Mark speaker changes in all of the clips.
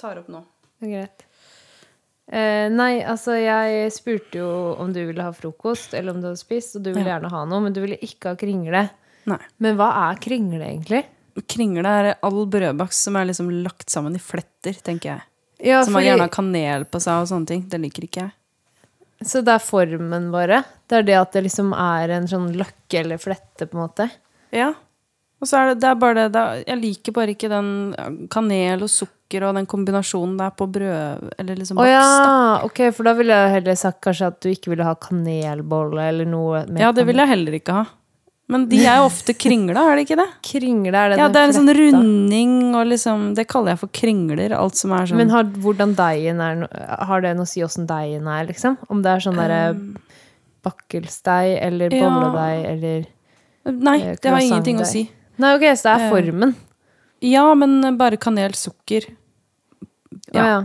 Speaker 1: tar opp nå.
Speaker 2: Det er greit. Eh, nei, altså jeg spurte jo om du ville ha frokost, eller om du hadde spist, og du ville
Speaker 1: Ja.
Speaker 2: gjerne ha noe, men du ville ikke ha kringle.
Speaker 1: Nei.
Speaker 2: Men hva er kringle, egentlig?
Speaker 1: Kringle er all brødbakst som er liksom lagt sammen i fletter, tenker jeg.
Speaker 2: Ja,
Speaker 1: som har gjerne har kanel på seg og sånne ting. Det liker ikke jeg.
Speaker 2: Så det er formen bare? Det er det at det liksom er en sånn løkke eller flette, på en måte?
Speaker 1: Ja. Og så er det, det er bare det, det er, Jeg liker bare ikke den kanel og sukker og den kombinasjonen der på brød Eller liksom
Speaker 2: Å
Speaker 1: bakst.
Speaker 2: ja,
Speaker 1: da.
Speaker 2: ok, for da ville jeg heller sagt kanskje at du ikke ville ha kanelbolle eller noe med
Speaker 1: Ja, det vil jeg heller ikke ha. Men de er jo ofte kringla, er det ikke det?
Speaker 2: kanel. Kringle er det
Speaker 1: Ja,
Speaker 2: den
Speaker 1: det er en sånn
Speaker 2: fletta.
Speaker 1: runding og liksom Det kaller jeg for kringler, alt som er sånn
Speaker 2: Men har, hvordan deigen er, no- har det noe å si åssen deigen er, liksom? Om det er
Speaker 1: Um,
Speaker 2: sånn derre
Speaker 1: Ehm,
Speaker 2: bakkelsteig eller
Speaker 1: ja.
Speaker 2: bolledeig eller
Speaker 1: Nei,
Speaker 2: eh,
Speaker 1: det har ingenting å
Speaker 2: croissantdeig.
Speaker 1: si.
Speaker 2: Nei, ok, så det er formen.
Speaker 1: Ja, men bare kanel, sukker
Speaker 2: Ja.
Speaker 1: ja.
Speaker 2: ja.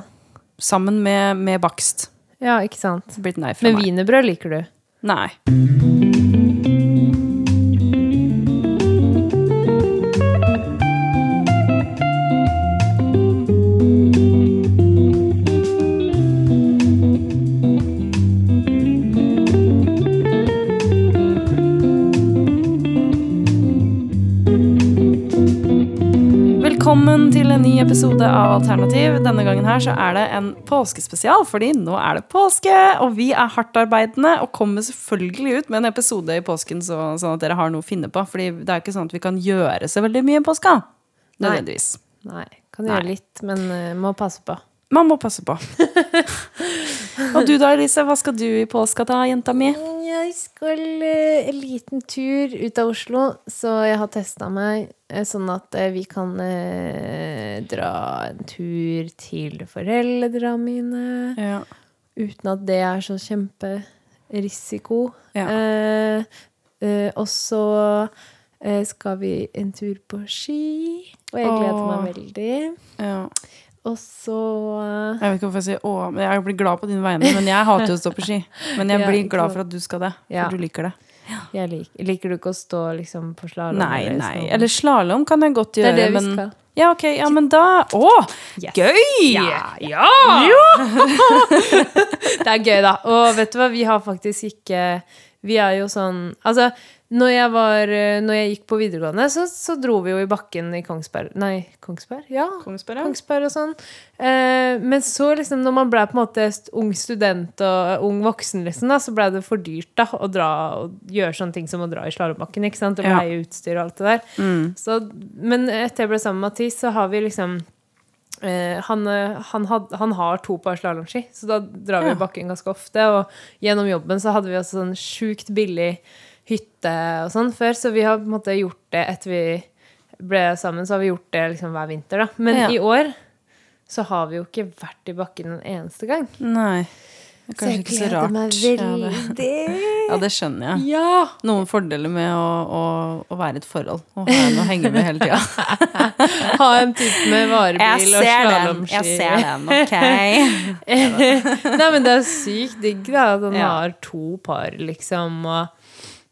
Speaker 1: sammen med, med bakst.
Speaker 2: ja, ikke sant.
Speaker 1: Det blir et nei fra
Speaker 2: Men
Speaker 1: meg.
Speaker 2: wienerbrød liker du?
Speaker 1: Nei. Velkommen til en ny episode av Alternativ. Denne gangen her så er det en påskespesial, fordi nå er det påske, og vi er hardtarbeidende og kommer selvfølgelig ut med en episode i påsken, så, sånn at dere har noe å finne på. Fordi det er ikke sånn at vi kan gjøre så veldig mye i påska.
Speaker 2: Nei.
Speaker 1: Nødvendigvis.
Speaker 2: Nei. Kan gjøre
Speaker 1: Nei.
Speaker 2: litt, men eh, må passe på.
Speaker 1: Man må passe på. og du da, Elise, hva skal du i påska da, jenta mi?
Speaker 2: Jeg skal eh, en liten tur ut av Oslo, så jeg har testa meg eh, sånn at eh, vi kan eh, dra en tur til foreldra mine.
Speaker 1: Ja.
Speaker 2: Uten at det er så kjemperisiko.
Speaker 1: Ja.
Speaker 2: Eh, eh, og så eh, skal vi en tur på ski, og jeg gleder
Speaker 1: Åh.
Speaker 2: meg veldig. Og så
Speaker 1: Jeg vet ikke hvorfor jeg sier å, men jeg blir glad på dine vegne, men jeg hater jo å stå på ski. Men jeg
Speaker 2: Ja,
Speaker 1: blir
Speaker 2: ikke
Speaker 1: glad
Speaker 2: sant.
Speaker 1: for at du skal det,
Speaker 2: Ja.
Speaker 1: for du liker det.
Speaker 2: jeg liker, liker du ikke å stå liksom på slalåm?
Speaker 1: Nei, nei. Eller slalåm kan jeg godt
Speaker 2: Det
Speaker 1: gjøre,
Speaker 2: er det vi
Speaker 1: men
Speaker 2: skal.
Speaker 1: Ja, ok. Ja, men da Å!
Speaker 2: Yes.
Speaker 1: Gøy!
Speaker 2: Ja,
Speaker 1: ja.
Speaker 2: Det er gøy, da. Og vet du hva, vi har faktisk ikke Vi er jo sånn Altså, når jeg, var, eh, når jeg gikk på videregående, så, så dro vi jo i bakken i Kongsberg Nei, Kongsberg? Ja.
Speaker 1: Kongsberg, ja.
Speaker 2: Kongsberg og sånn. Eh, men så, liksom, når man ble på en måte st- ung student og ung voksen, liksom, da, så ble det for dyrt da, å dra og gjøre sånne ting som å dra i slalåmbakken ikke sant? og
Speaker 1: Ja. Mm.
Speaker 2: leie utstyr og alt det der. Så, men etter jeg ble sammen med Mathis, så har vi liksom eh, han, eh, han, had, han har to par slalåmski, så da drar vi i
Speaker 1: Ja.
Speaker 2: bakken ganske ofte. Og gjennom jobben så hadde vi også sånn sjukt billig hytte og sånn før, så vi har på en måte gjort det etter vi ble sammen, så har vi gjort det liksom hver vinter, da. Men
Speaker 1: Ja.
Speaker 2: i år så har vi jo ikke vært i bakken en eneste gang.
Speaker 1: Nei. Det er kanskje ikke så rart. Ja, det, ja, det skjønner jeg.
Speaker 2: Ja!
Speaker 1: Noen fordeler med å, å, å være i et forhold og ha en å henge med hele tida.
Speaker 2: Ha en type med varebil og slalåmski.
Speaker 1: den, ok.
Speaker 2: Nei, men det er sykt digg da, at han
Speaker 1: Ja.
Speaker 2: har to par, liksom. Og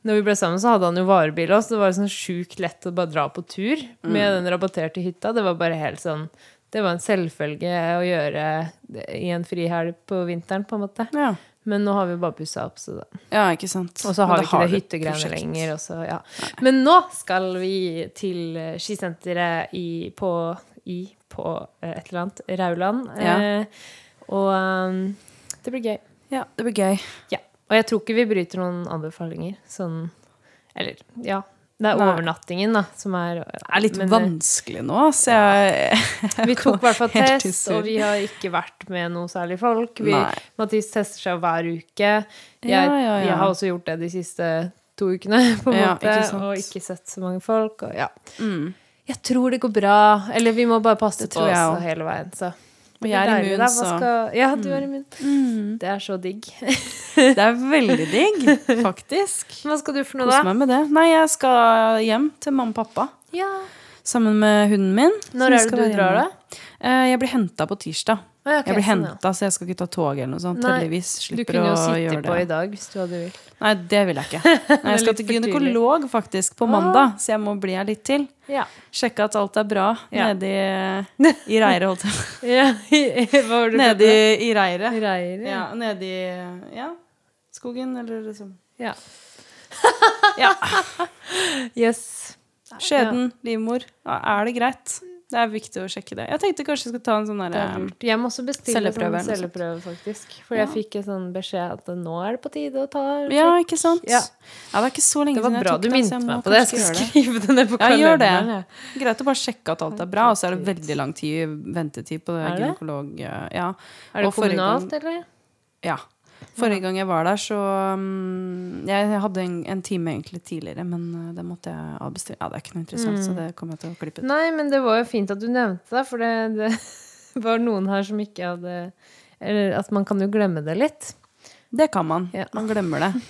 Speaker 2: når vi ble sammen, så hadde han jo varebil også. så Det var sånn sjukt lett å bare dra på tur med den rabatterte hytta. Det var bare helt sånn Det var en selvfølge å gjøre det i en frihelg på vinteren, på en måte.
Speaker 1: Ja.
Speaker 2: Men nå har vi bare pussa opp, så da.
Speaker 1: ja, ikke sant.
Speaker 2: Og så
Speaker 1: Men
Speaker 2: har
Speaker 1: da
Speaker 2: vi ikke
Speaker 1: du
Speaker 2: det
Speaker 1: et
Speaker 2: hyttegreiene
Speaker 1: prosjekt.
Speaker 2: lenger. Og så, ja. Men nå skal vi til eh, skisenteret i, på, i, på eh, et eller annet Rauland.
Speaker 1: Ja.
Speaker 2: Eh, og eh, det blir gøy.
Speaker 1: Ja, det blir gøy.
Speaker 2: Ja. Og jeg tror ikke vi bryter noen anbefalinger. Sånn Eller, ja. Det er
Speaker 1: Nei.
Speaker 2: overnattingen, da, som er
Speaker 1: Det er litt
Speaker 2: men, eh,
Speaker 1: vanskelig nå, så jeg
Speaker 2: Vi tok i hvert fall
Speaker 1: Helt i
Speaker 2: test,
Speaker 1: surr.
Speaker 2: og vi har ikke vært med noe særlig folk. Vi,
Speaker 1: Nei.
Speaker 2: Mathis tester seg hver uke. Jeg,
Speaker 1: Ja, ja, ja.
Speaker 2: jeg har også gjort det de siste to ukene, på en
Speaker 1: Ja,
Speaker 2: måte,
Speaker 1: ikke sant.
Speaker 2: og ikke sett så mange folk. Og, ja.
Speaker 1: Mm.
Speaker 2: Jeg tror det går bra. Eller vi må bare passe
Speaker 1: Det
Speaker 2: på
Speaker 1: tror jeg
Speaker 2: oss
Speaker 1: også.
Speaker 2: hele veien, så.
Speaker 1: Og
Speaker 2: Det
Speaker 1: jeg er
Speaker 2: blir deilig,
Speaker 1: immun,
Speaker 2: da. Hva
Speaker 1: så Mm.
Speaker 2: skal- Mm. Ja, du er immun. Det er så digg.
Speaker 1: Det er veldig digg, faktisk.
Speaker 2: Hva skal du for noe,
Speaker 1: Kose
Speaker 2: da?
Speaker 1: meg med det. Nei, jeg skal hjem til mamma og pappa
Speaker 2: Ja.
Speaker 1: sammen med hunden min.
Speaker 2: Når
Speaker 1: som
Speaker 2: er det
Speaker 1: skal
Speaker 2: du
Speaker 1: være
Speaker 2: drar,
Speaker 1: hjemme.
Speaker 2: da?
Speaker 1: Eh, Jeg blir henta på tirsdag.
Speaker 2: Ah, ja, ok,
Speaker 1: Jeg blir
Speaker 2: sånn, ja.
Speaker 1: henta, så jeg skal ikke ta tog eller noe sånt.
Speaker 2: Nei,
Speaker 1: Heldigvis
Speaker 2: Du
Speaker 1: slipper
Speaker 2: kunne
Speaker 1: å
Speaker 2: jo
Speaker 1: gjøre
Speaker 2: sitte på
Speaker 1: det.
Speaker 2: i dag hvis du hadde vil.
Speaker 1: Nei, det vil jeg ikke. Nei, jeg
Speaker 2: er
Speaker 1: skal
Speaker 2: litt
Speaker 1: til
Speaker 2: for tidlig. Ah.
Speaker 1: gynekolog faktisk på mandag, så jeg må bli her litt til.
Speaker 2: Ja.
Speaker 1: Sjekke at alt er bra
Speaker 2: Ja.
Speaker 1: nedi i reiret, holdt jeg på
Speaker 2: Hva var
Speaker 1: å si.
Speaker 2: det
Speaker 1: Nedi i reiret.
Speaker 2: Reier. Ja.
Speaker 1: Ja, nedi ja, skogen, eller liksom
Speaker 2: ja.
Speaker 1: Ja.
Speaker 2: Yes.
Speaker 1: Skjeden, livmor. Ja, er det greit? Det er viktig å sjekke det. Jeg tenkte kanskje jeg skulle ta en sånn
Speaker 2: Det er
Speaker 1: derre
Speaker 2: lurt. Jeg må også bestille
Speaker 1: celleprøve
Speaker 2: sånn
Speaker 1: eller noe sånt.
Speaker 2: celleprøve, faktisk. For
Speaker 1: Ja.
Speaker 2: jeg fikk en sånn beskjed at nå er det på tide å ta
Speaker 1: Ja, ikke sant?
Speaker 2: Ja.
Speaker 1: Ja, det er ikke så lenge
Speaker 2: Det var
Speaker 1: siden jeg
Speaker 2: bra
Speaker 1: tok
Speaker 2: du
Speaker 1: den, så
Speaker 2: minte
Speaker 1: jeg må
Speaker 2: meg på det. Jeg
Speaker 1: kanskje
Speaker 2: skal
Speaker 1: gjøre det.
Speaker 2: skrive det ned på
Speaker 1: Ja, gjør det.
Speaker 2: kalenderen. jeg.
Speaker 1: Greit å bare sjekke at alt er bra, og så er det veldig lang tid, ventetid på
Speaker 2: Er det?
Speaker 1: gynekolog... eh, Ja.
Speaker 2: Er det
Speaker 1: Og forrige gang-
Speaker 2: kommunalt, eller?
Speaker 1: ja. Forrige gang jeg var der, så um, Jeg hadde en, en time egentlig tidligere, men uh, det måtte jeg avbestille. Ja, det er ikke noe interessant,
Speaker 2: Mm.
Speaker 1: så det kommer jeg til å klippe ut.
Speaker 2: Nei, men det var jo fint at du nevnte det, for det, det var noen her som ikke hadde Eller at man kan jo glemme det litt.
Speaker 1: Det kan man.
Speaker 2: Ja.
Speaker 1: Man glemmer det.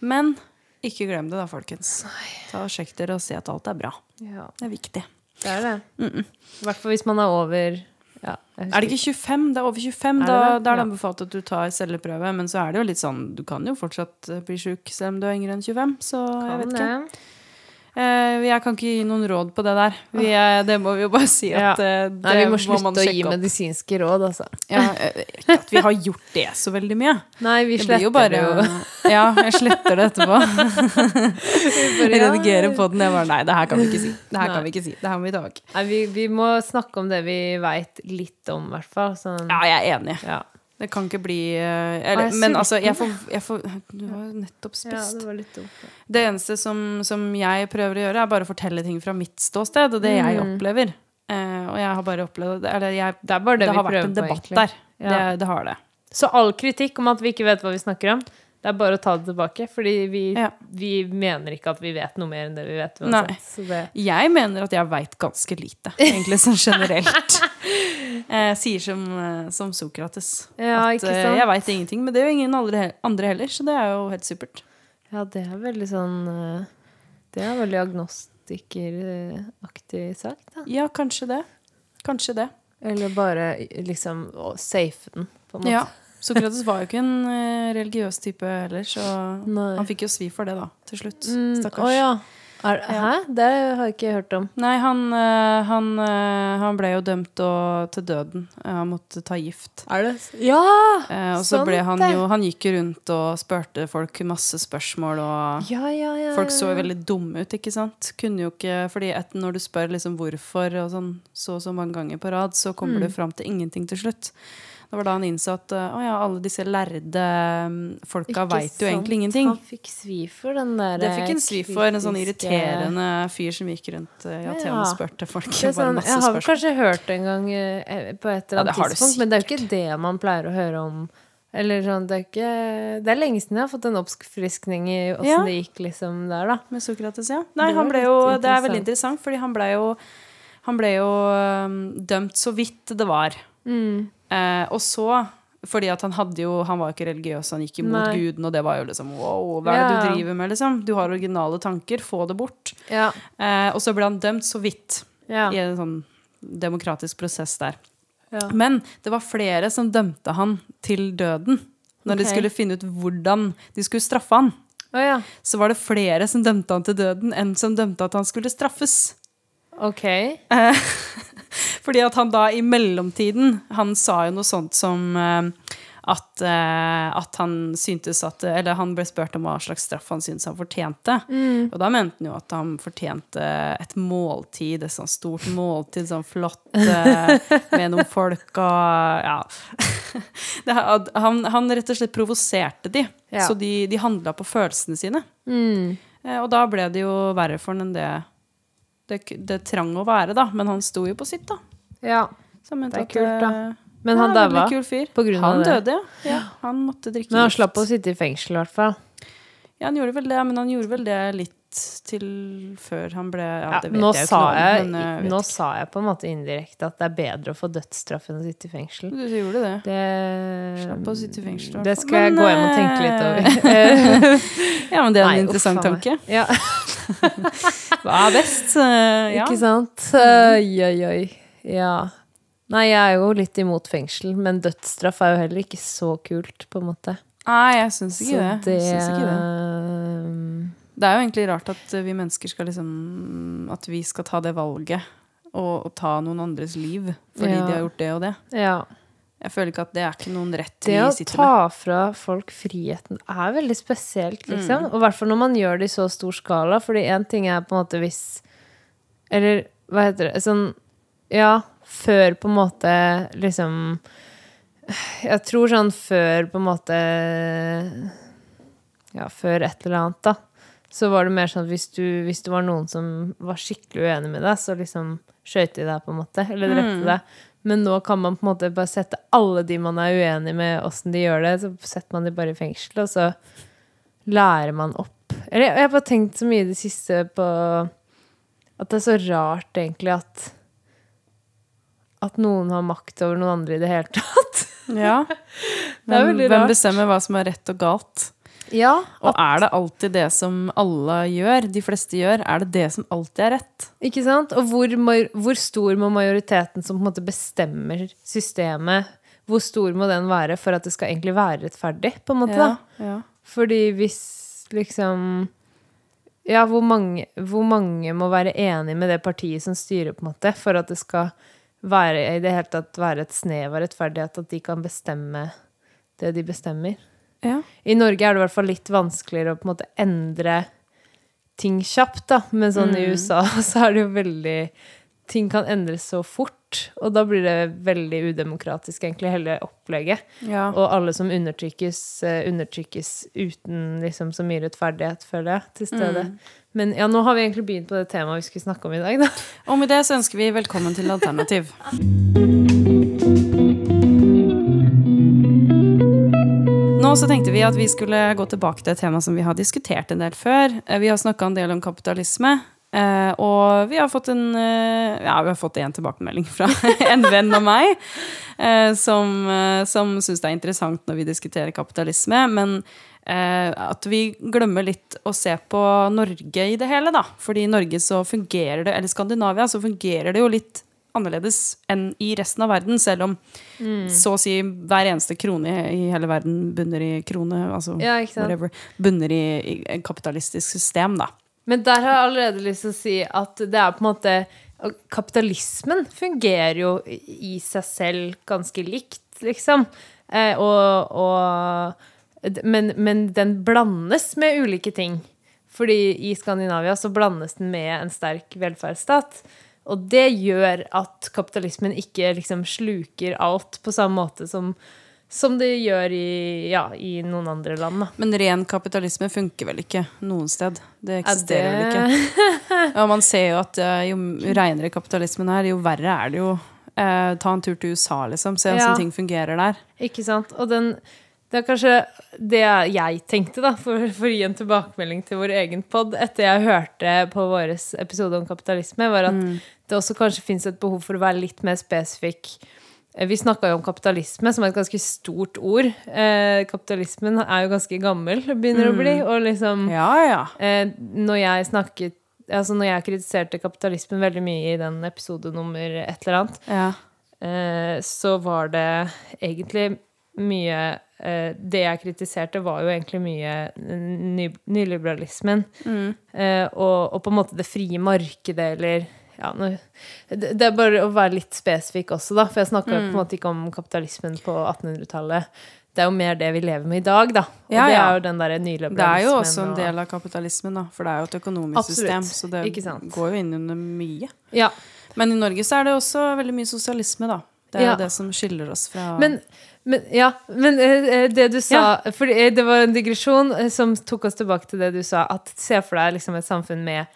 Speaker 1: Men ikke glem det, da, folkens. Ta og Sjekk dere og se at alt er bra.
Speaker 2: Ja,
Speaker 1: Det er viktig.
Speaker 2: det er det. I hvert fall hvis man er over ja, jeg
Speaker 1: Er det ikke 25? Det er over 25.
Speaker 2: Er det
Speaker 1: da,
Speaker 2: det?
Speaker 1: da er det
Speaker 2: Ja.
Speaker 1: anbefalt at du tar celleprøve. Men så er det jo litt sånn, du kan jo fortsatt eh, bli sjuk selv om du er yngre enn 25. Så jeg vet ikke. Eh, jeg kan ikke gi noen råd på det der. Vi, eh, det må vi jo bare si at
Speaker 2: Ah. Ja.
Speaker 1: eh, det
Speaker 2: Nei, vi må
Speaker 1: man
Speaker 2: slutte å gi
Speaker 1: sjekke opp.
Speaker 2: medisinske råd, altså.
Speaker 1: Ja, eh, ikke at vi har gjort det så veldig mye.
Speaker 2: Nei, vi
Speaker 1: Det blir
Speaker 2: sletter
Speaker 1: jo bare
Speaker 2: det
Speaker 1: Ja, jeg sletter det etterpå.
Speaker 2: jo.
Speaker 1: Redigerer på den. Jeg bare Nei, det her kan vi ikke si. Det her
Speaker 2: Nei.
Speaker 1: kan vi ikke si. Det her må vi ta vekk.
Speaker 2: Nei, vi, vi må snakke om det vi veit litt om, i hvert fall. Sånn,
Speaker 1: Ja, jeg er enig.
Speaker 2: ja.
Speaker 1: Det kan ikke bli eh,
Speaker 2: jeg
Speaker 1: eller,
Speaker 2: er
Speaker 1: Men altså, jeg får, jeg får Du har jo nettopp
Speaker 2: ja,
Speaker 1: spist.
Speaker 2: det var litt dumt. da.
Speaker 1: Det eneste som, som jeg prøver å gjøre, er bare å fortelle ting fra mitt ståsted, og det jeg
Speaker 2: Mm.
Speaker 1: opplever. Eh, og jeg har bare opplevd Eller jeg, det,
Speaker 2: Det er bare det, vi
Speaker 1: har vært
Speaker 2: prøver
Speaker 1: en
Speaker 2: på,
Speaker 1: debatt
Speaker 2: egentlig.
Speaker 1: der.
Speaker 2: Ja.
Speaker 1: Det, det har det.
Speaker 2: Så all kritikk om at vi ikke vet hva vi snakker om, det er bare å ta det tilbake. Fordi vi,
Speaker 1: Ja.
Speaker 2: vi mener ikke at vi vet noe mer enn det vi vet.
Speaker 1: Nei.
Speaker 2: Uansett. Så det,
Speaker 1: Jeg mener at jeg veit ganske lite, egentlig sånn generelt. Eh, sier som, eh, som Sokrates.
Speaker 2: Ja,
Speaker 1: at
Speaker 2: ikke
Speaker 1: eh,
Speaker 2: sant?
Speaker 1: jeg veit ingenting, men det gjør ingen andre, andre heller, så det er jo helt supert.
Speaker 2: ja, det er veldig sånn eh, Det er veldig agnostikeraktig sagt, da.
Speaker 1: Ja, kanskje det. Kanskje det.
Speaker 2: Eller bare liksom å safe den, på en måte.
Speaker 1: Ja. Sokrates var jo ikke en eh, religiøs type heller, så
Speaker 2: Nei.
Speaker 1: han fikk jo svi for det, da, til slutt.
Speaker 2: Mm,
Speaker 1: Stakkars.
Speaker 2: å ja. Er, hæ? Det har jeg ikke hørt om.
Speaker 1: Nei, han, eh, han, eh, han ble jo dømt og, til døden. Eh, Han måtte ta gift.
Speaker 2: Er det? Ja!
Speaker 1: Eh, og så
Speaker 2: Sant
Speaker 1: ble han
Speaker 2: Sånn, det.
Speaker 1: jo Han gikk jo rundt og spurte folk masse spørsmål, og
Speaker 2: Ja, ja, ja.
Speaker 1: folk så jo veldig dumme ut, ikke sant? Kunne jo ikke Fordi et, når du spør liksom hvorfor og sånn så og så mange ganger på rad, så kommer
Speaker 2: Mm.
Speaker 1: du fram til ingenting til slutt. Det var da han innså at eh, å ja, alle disse lærde mm, folka
Speaker 2: Ikke
Speaker 1: veit jo
Speaker 2: sant.
Speaker 1: egentlig ingenting.
Speaker 2: Han fikk svi for den der
Speaker 1: Det fikk en svi for, en sånn
Speaker 2: kritiske-
Speaker 1: irriterende fyr som gikk rundt eh, i Aten og
Speaker 2: Ja.
Speaker 1: spurte folk
Speaker 2: Det er
Speaker 1: bare
Speaker 2: sånn,
Speaker 1: masse
Speaker 2: jeg har
Speaker 1: spørsmål.
Speaker 2: vel kanskje hørt det en gang eh, på et eller
Speaker 1: Ja, det
Speaker 2: annet
Speaker 1: har du
Speaker 2: tidspunkt, men det er jo ikke det man pleier å høre om. Eller sånn, det, er ikke, det er lenge siden jeg har fått en oppfriskning i åssen
Speaker 1: Ja.
Speaker 2: det gikk liksom der, da.
Speaker 1: Med Sokrates, ja. Nei,
Speaker 2: Det var
Speaker 1: han ble
Speaker 2: litt
Speaker 1: jo, det er veldig interessant, fordi han ble jo, han ble jo øhm, dømt så vidt det var. Eh, og så fordi at han hadde jo, han var jo ikke religiøs, han gikk imot
Speaker 2: Nei.
Speaker 1: guden, og det var jo liksom wow, hva er det
Speaker 2: Ja.
Speaker 1: du driver med, liksom? Du har originale tanker, få det bort.
Speaker 2: Ja.
Speaker 1: Eh, og så ble han dømt så vidt
Speaker 2: Ja.
Speaker 1: i en sånn demokratisk prosess der.
Speaker 2: Ja.
Speaker 1: Men det var flere som dømte han til døden når de
Speaker 2: Ok.
Speaker 1: skulle finne ut hvordan de skulle straffe han
Speaker 2: Å ja.
Speaker 1: så var det flere som dømte han til døden enn som dømte at han skulle straffes.
Speaker 2: Ok.
Speaker 1: Eh, Fordi at han da i mellomtiden, han sa jo noe sånt som eh, at, eh, at han syntes at Eller han ble spurt om hva slags straff han syntes han fortjente. Og da mente han jo at han fortjente et måltid, et sånt stort måltid, sånn flott, eh, med noen folk og Ja. Det, er- han, han rett og slett provoserte de,
Speaker 2: Ja.
Speaker 1: så de, de handla på følelsene sine.
Speaker 2: Mm.
Speaker 1: Eh, Og da ble det jo verre for han enn det det, k- det trang å være, da. Men han sto jo på sitt, da.
Speaker 2: Ja.
Speaker 1: Så han mente
Speaker 2: Det er
Speaker 1: at,
Speaker 2: kult, da.
Speaker 1: eh,
Speaker 2: Men han
Speaker 1: ja, veldig
Speaker 2: daua.
Speaker 1: Kul fyr.
Speaker 2: på grunn av
Speaker 1: han
Speaker 2: det.
Speaker 1: døde, ja. ja. Han måtte drikke
Speaker 2: Men han
Speaker 1: gift.
Speaker 2: slapp å sitte i fengsel, i hvert fall.
Speaker 1: Ja, han gjorde vel det, men han gjorde vel det litt til før han ble Ja,
Speaker 2: Ja,
Speaker 1: det vet
Speaker 2: nå
Speaker 1: jeg jo
Speaker 2: sa
Speaker 1: ikke noe
Speaker 2: jeg,
Speaker 1: om, men eh, vet
Speaker 2: nå sa jeg på en måte indirekte at det er bedre å få dødsstraff enn å sitte i fengsel.
Speaker 1: ikke. Du gjorde det.
Speaker 2: Det,
Speaker 1: Slapp å sitte i fengsel, i hvert
Speaker 2: Det
Speaker 1: fall.
Speaker 2: skal jeg
Speaker 1: Men, eh,
Speaker 2: gå hjem og tenke litt over.
Speaker 1: Ja, men det er en
Speaker 2: Nei, uff,
Speaker 1: interessant
Speaker 2: faen meg.
Speaker 1: tanke.
Speaker 2: Ja,
Speaker 1: Hva er best? Eh, ja. Mm.
Speaker 2: ikke sant? Oi, oi, oi. Ja. Nei, jeg er jo litt imot fengsel, men dødsstraff er jo heller ikke så kult, på en måte.
Speaker 1: Nei, jeg syns ikke,
Speaker 2: Så
Speaker 1: det. Jeg syns ikke det.
Speaker 2: eh,
Speaker 1: Det er jo egentlig rart at eh, vi mennesker skal liksom At vi skal ta det valget og, og ta noen andres liv fordi
Speaker 2: Ja.
Speaker 1: de har gjort det og det.
Speaker 2: eh, Ja.
Speaker 1: Jeg føler ikke at det er ikke noen rett vi
Speaker 2: Det å
Speaker 1: sitter med. Mm.
Speaker 2: ta fra folk friheten er veldig spesielt, liksom. Og i hvert fall når man gjør det i så stor skala, fordi én ting er på en måte hvis Eller hva heter det Sånn Ja, før på en måte liksom Jeg tror sånn før på en måte Ja, før et eller annet, da. Så var det mer sånn at hvis du, hvis det var noen som var skikkelig uenig med deg, så liksom skøyte de deg, på en måte. Eller drepte deg. Men nå kan man på en måte bare sette alle de man er uenig med, åssen de gjør det, så setter man de bare i fengsel, og så lærer man opp. Eller jeg jeg har bare tenkt så mye i det siste på at det er så rart egentlig at at noen har makt over noen andre i det hele tatt.
Speaker 1: Ja.
Speaker 2: Det er
Speaker 1: Hvem,
Speaker 2: veldig
Speaker 1: hvem
Speaker 2: rart.
Speaker 1: bestemmer hva som er rett og galt?
Speaker 2: Ja,
Speaker 1: Og er det alltid det som alle gjør, de fleste gjør, er det det som alltid er rett?
Speaker 2: Ikke sant? Og hvor, ma- hvor stor må majoriteten som på en måte bestemmer systemet, hvor stor må den være for at det skal egentlig være rettferdig, på en måte? da?
Speaker 1: ja.
Speaker 2: Fordi hvis liksom Ja, hvor mange, hvor mange må være enig med det partiet som styrer, på en måte, for at det skal være, i det hele tatt være et snev av rettferdighet, at de kan bestemme det de bestemmer?
Speaker 1: Ja.
Speaker 2: I Norge er det i hvert fall litt vanskeligere å på en måte endre ting kjapt, da. Men sånn i USA så er det jo veldig Ting kan endres så fort, og da blir det veldig udemokratisk, egentlig, hele opplegget.
Speaker 1: Ja.
Speaker 2: Og alle som undertrykkes, eh, undertrykkes uten liksom så mye rettferdighet, føler jeg, til stede. Men ja, nå har vi egentlig begynt på det temaet vi skulle snakke om i dag, da.
Speaker 1: Og med det så ønsker vi velkommen til Alternativ. Nå så tenkte vi at vi skulle gå tilbake til et tema som vi har diskutert en del før. Eh, Vi har snakka en del om kapitalisme. eh, og vi har fått en eh, Ja, vi har fått én tilbakemelding fra en venn av meg eh, som, uh, som syns det er interessant når vi diskuterer kapitalisme, men eh, at vi glemmer litt å se på Norge i det hele, da. Fordi i Norge så fungerer det, eller Skandinavia, så fungerer det jo litt annerledes enn i resten av verden, selv om
Speaker 2: Mm.
Speaker 1: så å si hver eneste krone i hele verden bunner i krone, altså
Speaker 2: Ja, ikke sant?
Speaker 1: whatever, bunner i, i en kapitalistisk system, da.
Speaker 2: Men der har jeg allerede lyst til å si at det er på en måte og Kapitalismen fungerer jo i seg selv ganske likt, liksom. Eh, og, og d- men, men den blandes med ulike ting. Fordi i Skandinavia så blandes den med en sterk velferdsstat. Og det gjør at kapitalismen ikke liksom sluker alt på samme måte som, som det gjør i, ja, i noen andre land. Da.
Speaker 1: Men ren kapitalisme funker vel ikke noen sted? Det
Speaker 2: Er
Speaker 1: eksisterer vel ikke?
Speaker 2: det-
Speaker 1: Ja, man ser jo at eh, jo reinere kapitalismen er, jo verre er det jo. Eh, ta en tur til USA, liksom. Se
Speaker 2: Ja.
Speaker 1: hvordan ting fungerer der.
Speaker 2: Ikke sant? Og den, det er kanskje det jeg tenkte, da, for, for å gi en tilbakemelding til vår egen pod, etter jeg hørte på vår episode om kapitalisme, var at det også kanskje fins et behov for å være litt mer spesifikk. Eh, Vi snakka jo om kapitalisme, som er et ganske stort ord. Eh, kapitalismen er jo ganske gammel, begynner å bli, og liksom
Speaker 1: Ja, ja.
Speaker 2: Eh, når jeg snakket Altså når jeg kritiserte kapitalismen veldig mye i den episode nummer et eller annet,
Speaker 1: ja.
Speaker 2: eh, så var det egentlig mye eh, Det jeg kritiserte, var jo egentlig mye ny, nyliberalismen.
Speaker 1: Mm.
Speaker 2: Eh, og, og på en måte det frie markedet, eller ja, nå, det, det er bare å være litt spesifikk også, da. For jeg snakka
Speaker 1: Mm.
Speaker 2: jo på en måte ikke om kapitalismen på 1800-tallet. Det er jo mer det vi lever med i dag, da. Og
Speaker 1: Ja,
Speaker 2: det
Speaker 1: ja.
Speaker 2: er jo den derre nyliberalismen.
Speaker 1: Det er jo også en
Speaker 2: og-
Speaker 1: del av kapitalismen, da. For det er jo et økonomisk
Speaker 2: Absolutt.
Speaker 1: system, så det
Speaker 2: Ikke sant.
Speaker 1: går jo inn under mye.
Speaker 2: Ja,
Speaker 1: Men i Norge så er det også veldig mye sosialisme, da. Det er
Speaker 2: Ja.
Speaker 1: jo det som skiller oss fra
Speaker 2: Men, men, ja, men eh, eh, det du sa For eh, det var en digresjon eh, som tok oss tilbake til det du sa. At Se for deg liksom et samfunn med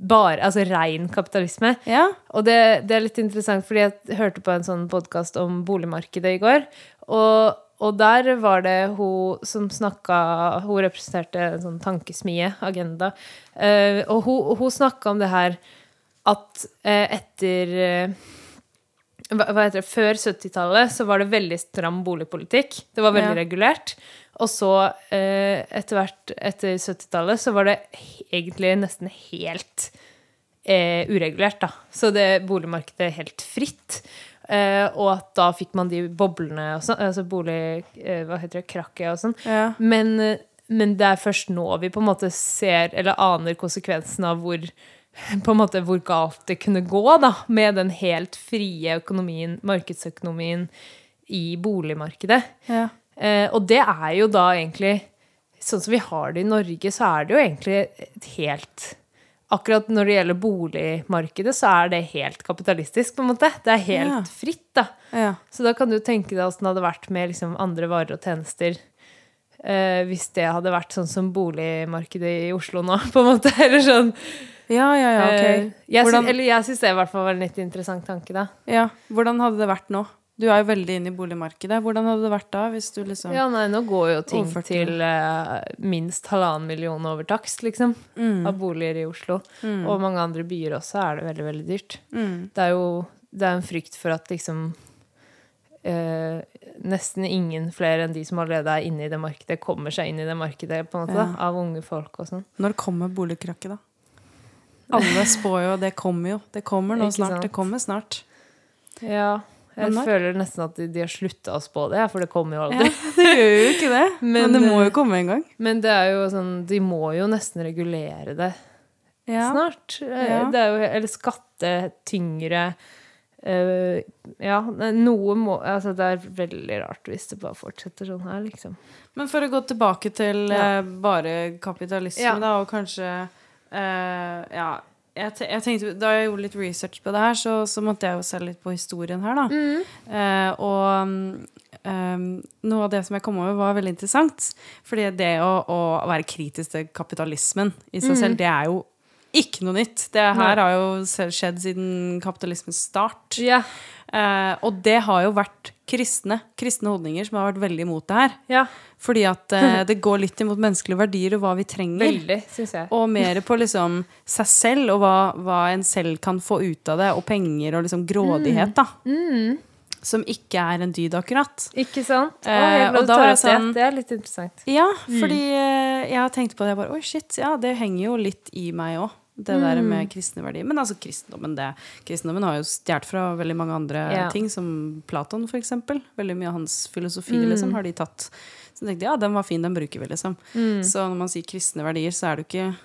Speaker 2: bare, altså ren kapitalisme.
Speaker 1: Ja.
Speaker 2: Og det, det er litt interessant, fordi jeg hørte på en sånn podkast om boligmarkedet i går. Og, og der var det hun som snakka Hun representerte en sånn tankesmie, Agenda. Eh, og hun, hun snakka om det her at eh, etter eh, hva hva heter det, Før 70-tallet så var det veldig stram boligpolitikk. Det var veldig
Speaker 1: Ja.
Speaker 2: regulert. Og så, eh, etter hvert, etter 70-tallet, så var det he- egentlig nesten helt eh, uregulert, da. Så det boligmarkedet er helt fritt. Eh, og at da fikk man de boblene og sånn. Altså bolig... Eh, hva heter det? Krakket og sånn.
Speaker 1: Ja.
Speaker 2: Men, eh, men det er først nå vi på en måte ser eller aner konsekvensen av hvor på en måte hvor galt det kunne gå da, med den helt frie økonomien, markedsøkonomien i boligmarkedet.
Speaker 1: Ja.
Speaker 2: Eh, og det er jo da egentlig Sånn som vi har det i Norge, så er det jo egentlig et helt Akkurat når det gjelder boligmarkedet, så er det helt kapitalistisk, på en måte. Det er helt
Speaker 1: Ja.
Speaker 2: fritt, da.
Speaker 1: Ja.
Speaker 2: Så da kan du tenke deg åssen det hadde vært med liksom, andre varer og tjenester. eh, hvis det hadde vært sånn som boligmarkedet i Oslo nå, på en måte. Eller sånn.
Speaker 1: ja, ja, ja,
Speaker 2: Eh,
Speaker 1: ok.
Speaker 2: jeg
Speaker 1: Hvordan-
Speaker 2: syns, eller jeg syns det i hvert fall var en litt interessant tanke, da.
Speaker 1: Ja. Hvordan hadde det vært nå? Du er jo veldig inne i boligmarkedet. Hvordan hadde det vært da hvis du liksom
Speaker 2: Ja, nei, nå går jo ting
Speaker 1: Overført til-
Speaker 2: til eh, minst halvannen million over takst, liksom.
Speaker 1: Mm.
Speaker 2: Av boliger i Oslo. Og mange andre byer også er det veldig, veldig dyrt.
Speaker 1: Mm.
Speaker 2: Det er jo det er en frykt for at liksom eh, nesten ingen flere enn de som allerede er inne i det markedet, kommer seg inn i det markedet, på en måte, da, av unge folk og sånn.
Speaker 1: Når kommer boligkrakket, da? Alle spår jo Det kommer jo. Det kommer nå
Speaker 2: Ikke
Speaker 1: snart.
Speaker 2: sant?
Speaker 1: Det kommer snart.
Speaker 2: Ja. Jeg
Speaker 1: Men når-
Speaker 2: føler nesten at de, de har slutta å spå det, for det kommer jo aldri.
Speaker 1: Ja, det gjør jo ikke det. Men,
Speaker 2: Men,
Speaker 1: det må
Speaker 2: eh,
Speaker 1: jo komme en gang.
Speaker 2: Men det er jo sånn, de må jo nesten regulere det
Speaker 1: Ja.
Speaker 2: snart. Eh,
Speaker 1: Ja.
Speaker 2: Det er jo Eller skatte tyngre eh, Ja, nei, noe må Altså, det er veldig rart hvis det bare fortsetter sånn her, liksom.
Speaker 1: Men for å gå tilbake til
Speaker 2: Ja.
Speaker 1: eh, bare kapitalisme,
Speaker 2: Ja.
Speaker 1: da, og kanskje eh, Ja. Jeg, te jeg tenkte, Da jeg gjorde litt research på det her, så, så måtte jeg jo se litt på historien her, da.
Speaker 2: Mm.
Speaker 1: Eh, og mm, eh, noe av det som jeg kom over, var veldig interessant. Fordi det å, å være kritisk til kapitalismen i seg
Speaker 2: Mm.
Speaker 1: selv, det er jo ikke noe nytt. Det her har jo se- skjedd siden kapitalismens start.
Speaker 2: Ja.
Speaker 1: Eh, og det har jo vært kristne, kristne holdninger som har vært veldig imot det her.
Speaker 2: ja.
Speaker 1: Fordi at eh, det går litt imot menneskelige verdier og hva vi trenger.
Speaker 2: Veldig, syns jeg.
Speaker 1: Og mer på liksom seg selv og hva, hva en selv kan få ut av det, og penger og liksom grådighet, da. Som ikke er en dyd, akkurat.
Speaker 2: Ikke sant? Å,
Speaker 1: Eh,
Speaker 2: jeg er glad
Speaker 1: og
Speaker 2: du
Speaker 1: da
Speaker 2: tar
Speaker 1: er
Speaker 2: opp det.
Speaker 1: sånn-
Speaker 2: Det er litt interessant.
Speaker 1: Ja, fordi eh, jeg har tenkt på det. Jeg bare, Oi, shit, ja, det henger jo litt i meg òg. Det der
Speaker 2: Mm.
Speaker 1: med kristne verdier. Men altså, kristendommen, det, kristendommen har jo stjålet fra veldig mange andre
Speaker 2: Ja.
Speaker 1: ting, som Platon, for eksempel. Veldig mye av hans filosofi
Speaker 2: Mm.
Speaker 1: liksom, har de tatt. Så jeg tenkte ja, den var fin, den bruker vi, liksom.
Speaker 2: Mm.
Speaker 1: Så når man sier kristne verdier, så er det jo ikke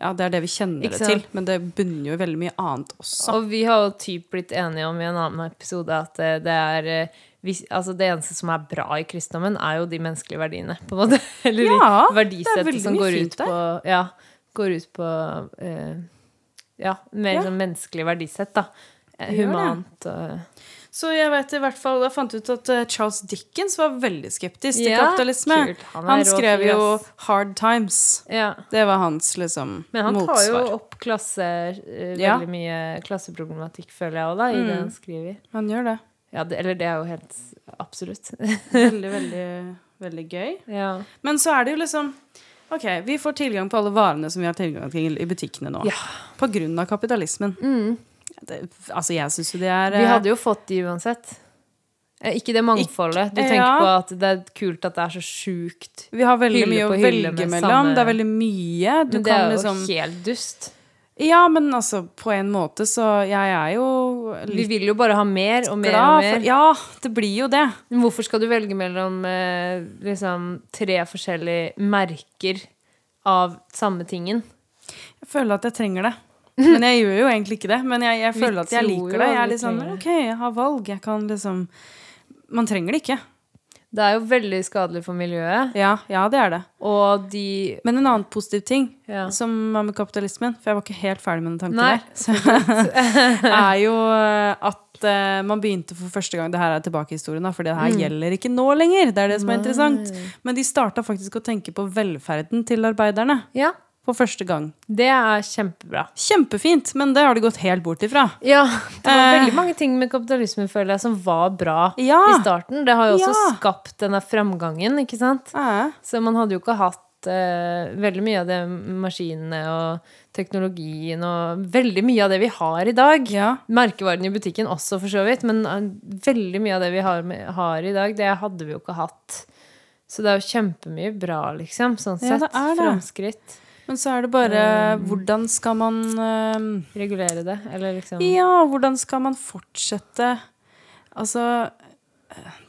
Speaker 1: Ja, det er det vi kjenner det
Speaker 2: Ikke
Speaker 1: til,
Speaker 2: sant?
Speaker 1: men det bunner jo i veldig mye annet også.
Speaker 2: Og vi har jo typ blitt enige om i en annen episode at eh, det er eh, hvis, altså det eneste som er bra i kristendommen, er jo de menneskelige verdiene. på en måte. Eller
Speaker 1: Ja,
Speaker 2: de
Speaker 1: det er
Speaker 2: verdisettet
Speaker 1: veldig
Speaker 2: som
Speaker 1: mye
Speaker 2: går
Speaker 1: fint
Speaker 2: ut, på, ja, går ut på eh, Ja, mer
Speaker 1: Ja.
Speaker 2: sånn menneskelig verdisett, da. Eh,
Speaker 1: Gjør det.
Speaker 2: Humant. og-
Speaker 1: Så jeg vet i hvert fall, jeg fant ut at eh, Charles Dickens var veldig skeptisk til
Speaker 2: Ja,
Speaker 1: kapitalisme.
Speaker 2: kult. Han er
Speaker 1: Han
Speaker 2: rå
Speaker 1: skrev
Speaker 2: fyr,
Speaker 1: jo
Speaker 2: ass.
Speaker 1: 'Hard Times'.
Speaker 2: Ja.
Speaker 1: Det var hans liksom
Speaker 2: Men han tar jo
Speaker 1: motsvar.
Speaker 2: opp klasse, eh,
Speaker 1: Ja. Mm.
Speaker 2: veldig mye klasseproblematikk, føler jeg òg, da, i det han skriver.
Speaker 1: Han gjør det.
Speaker 2: Ja, det, eller det er jo helt absolutt.
Speaker 1: Veldig, veldig, veldig gøy.
Speaker 2: ja.
Speaker 1: Men så er det jo liksom Ok, vi får tilgang på alle varene som vi har tilgang til i butikkene nå.
Speaker 2: Ja. Mm.
Speaker 1: På grunn av kapitalismen. Det, altså, jeg syns jo det er
Speaker 2: Vi hadde jo fått de uansett. Eh, Ikke det mangfoldet. Du tenker
Speaker 1: ja.
Speaker 2: på at det er kult at det er så sjukt.
Speaker 1: eh, vi har veldig
Speaker 2: hylle
Speaker 1: mye å
Speaker 2: på hylle
Speaker 1: velge
Speaker 2: med
Speaker 1: mellom.
Speaker 2: samme-
Speaker 1: Det er veldig mye. Du
Speaker 2: Men det
Speaker 1: kan
Speaker 2: er jo
Speaker 1: liksom
Speaker 2: helt dust.
Speaker 1: Ja, men altså, på en måte så Jeg er jo
Speaker 2: Vi
Speaker 1: litt
Speaker 2: vil jo bare ha mer og mer og
Speaker 1: glad
Speaker 2: mer.
Speaker 1: for Ja, det blir jo det.
Speaker 2: Men hvorfor skal du velge mellom eh, liksom, tre forskjellige merker av samme tingen?
Speaker 1: Jeg føler at jeg trenger det. Men jeg gjør jo egentlig ikke det. Men jeg, jeg
Speaker 2: Vi
Speaker 1: føler at jeg
Speaker 2: tror
Speaker 1: liker det.
Speaker 2: jo at
Speaker 1: Jeg er
Speaker 2: vi
Speaker 1: litt sånn
Speaker 2: trenger det.
Speaker 1: OK, jeg har valg. Jeg kan liksom Man trenger det ikke.
Speaker 2: Det er jo veldig skadelig for miljøet,
Speaker 1: Ja, ja det er det.
Speaker 2: og de
Speaker 1: Men en annen positiv ting
Speaker 2: Ja.
Speaker 1: som er med kapitalismen, for jeg var ikke helt ferdig med den tanken
Speaker 2: Nei.
Speaker 1: der, så, er jo eh, at eh, man begynte for første gang Det her er tilbake i historien, da, for det
Speaker 2: Mm.
Speaker 1: her gjelder ikke nå lenger. Det er det som er interessant. Men de starta faktisk å tenke på velferden til arbeiderne
Speaker 2: Ja,
Speaker 1: for første gang.
Speaker 2: det er kjempebra.
Speaker 1: Kjempefint, men det har de gått helt bort ifra.
Speaker 2: Ja, det var
Speaker 1: Eh.
Speaker 2: veldig mange ting med kapitalismen føler jeg, som var bra
Speaker 1: Ja.
Speaker 2: i starten. Det har jo også
Speaker 1: Ah, Ja.
Speaker 2: skapt denne framgangen, ikke sant?
Speaker 1: Ja.
Speaker 2: Så man hadde jo ikke hatt eh, veldig mye av det maskinene og teknologien og veldig mye av det vi har i dag.
Speaker 1: Ja.
Speaker 2: Merkevarene i butikken også, for så vidt, men eh, veldig mye av det vi har, med, har i dag, det hadde vi jo ikke hatt. Så det er jo kjempemye bra, liksom, sånn
Speaker 1: Ja,
Speaker 2: sett.
Speaker 1: det er det.
Speaker 2: Framskritt.
Speaker 1: Men så er det bare hvordan skal man eh,
Speaker 2: Regulere det, eller liksom
Speaker 1: Ja, hvordan skal man fortsette Altså,